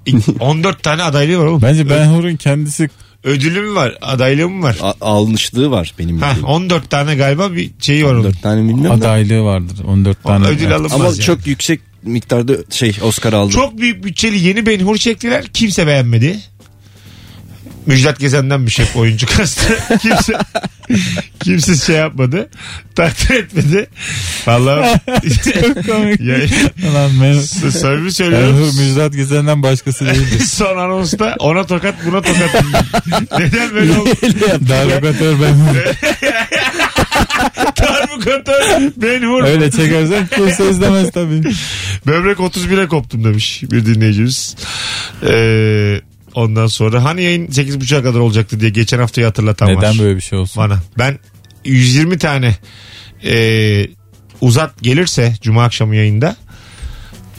[SPEAKER 2] 14 tane adaylığı var oğlum.
[SPEAKER 3] Bence Ben Hur'un kendisi
[SPEAKER 2] Ödülüm var, adaylığım var.
[SPEAKER 4] A- alınışlığı var benim
[SPEAKER 2] Ha,
[SPEAKER 4] bildiğim.
[SPEAKER 2] 14 tane galiba bir şeyi var onun.
[SPEAKER 4] 14 tane bilmiyorum da.
[SPEAKER 3] adaylığı vardır. 14 tane.
[SPEAKER 2] Ödül alınmaz
[SPEAKER 4] Ama
[SPEAKER 2] yani.
[SPEAKER 4] çok yüksek miktarda şey Oscar aldı.
[SPEAKER 2] Çok büyük bütçeli yeni Benhur çektiler. Kimse beğenmedi. Müjdat Gezen'den bir şey oyuncu kastı. kimse kimse şey yapmadı. Takdir etmedi. Vallahi
[SPEAKER 3] komik.
[SPEAKER 2] ya,
[SPEAKER 3] Lan ben,
[SPEAKER 2] samimi
[SPEAKER 3] ben
[SPEAKER 2] söylüyorum.
[SPEAKER 3] Hur Müjdat Gezen'den başkası değildi.
[SPEAKER 2] Son anonsta ona tokat buna tokat. Neden böyle oldu?
[SPEAKER 3] Darbukatör Ben Hur.
[SPEAKER 2] Darbukatör ben hur.
[SPEAKER 3] Öyle çekersen kimse izlemez tabii.
[SPEAKER 2] Böbrek 31'e koptum demiş bir dinleyicimiz. Ee, ondan sonra hani yayın 8.30'a kadar olacaktı diye geçen haftayı hatırlatan var.
[SPEAKER 3] Neden böyle bir şey olsun?
[SPEAKER 2] Bana. Ben 120 tane e, uzat gelirse cuma akşamı yayında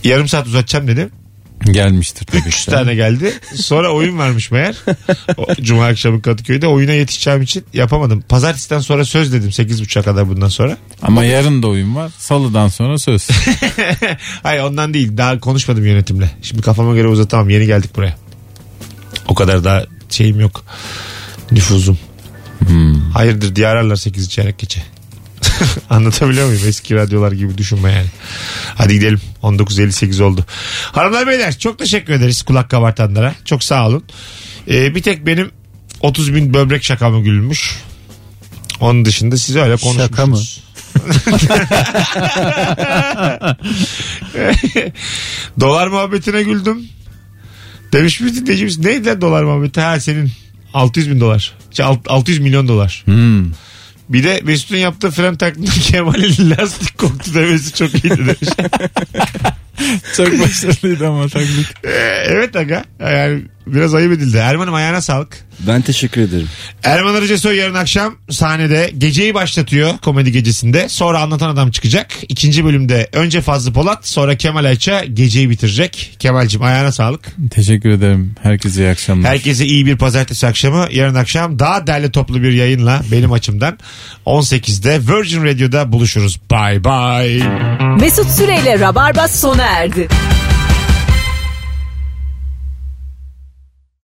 [SPEAKER 2] yarım saat uzatacağım dedim.
[SPEAKER 3] Gelmiştir tabii.
[SPEAKER 2] 3
[SPEAKER 3] ki.
[SPEAKER 2] tane geldi. Sonra oyun varmış meğer. O, Cuma akşamı Kadıköy'de oyuna yetişeceğim için yapamadım. Pazartesiden sonra söz dedim 8.30'a kadar bundan sonra.
[SPEAKER 3] Ama yarın da oyun var. Salıdan sonra söz.
[SPEAKER 2] Hayır ondan değil. Daha konuşmadım yönetimle. Şimdi kafama göre uzatamam. Yeni geldik buraya. O kadar daha şeyim yok. Nüfuzum.
[SPEAKER 3] Hmm.
[SPEAKER 2] Hayırdır diye ararlar 8 çeyrek geçe. Anlatabiliyor muyum? Eski radyolar gibi düşünme yani. Hadi gidelim. 19.58 oldu. Hanımlar beyler çok teşekkür ederiz kulak kabartanlara. Çok sağ olun. Ee, bir tek benim 30 bin böbrek şakamı gülmüş. Onun dışında siz öyle konuşmuşsunuz.
[SPEAKER 3] Şaka mı?
[SPEAKER 2] dolar muhabbetine güldüm. Demiş bir dinleyicimiz neydi lan dolar muhabbeti? Ha senin 600 bin dolar. Şey, alt- 600 milyon dolar.
[SPEAKER 3] Hmm.
[SPEAKER 2] Bir de Mesut'un yaptığı fren taklidi Kemal'in lastik koktu demesi çok iyiydi demiş.
[SPEAKER 3] Çok başarılıydı ama taklit.
[SPEAKER 2] Ee, evet aga. Yani biraz ayıp edildi. Erman'ım ayağına sağlık.
[SPEAKER 4] Ben teşekkür ederim.
[SPEAKER 2] Erman Arıca Soy yarın akşam sahnede geceyi başlatıyor komedi gecesinde. Sonra anlatan adam çıkacak. İkinci bölümde önce Fazlı Polat sonra Kemal Ayça geceyi bitirecek. Kemal'cim ayağına sağlık.
[SPEAKER 3] Teşekkür ederim. Herkese iyi akşamlar.
[SPEAKER 2] Herkese iyi bir pazartesi akşamı. Yarın akşam daha derli toplu bir yayınla benim açımdan 18'de Virgin Radio'da buluşuruz. Bye bye.
[SPEAKER 1] Mesut Süreyle Rabarba sona erdi.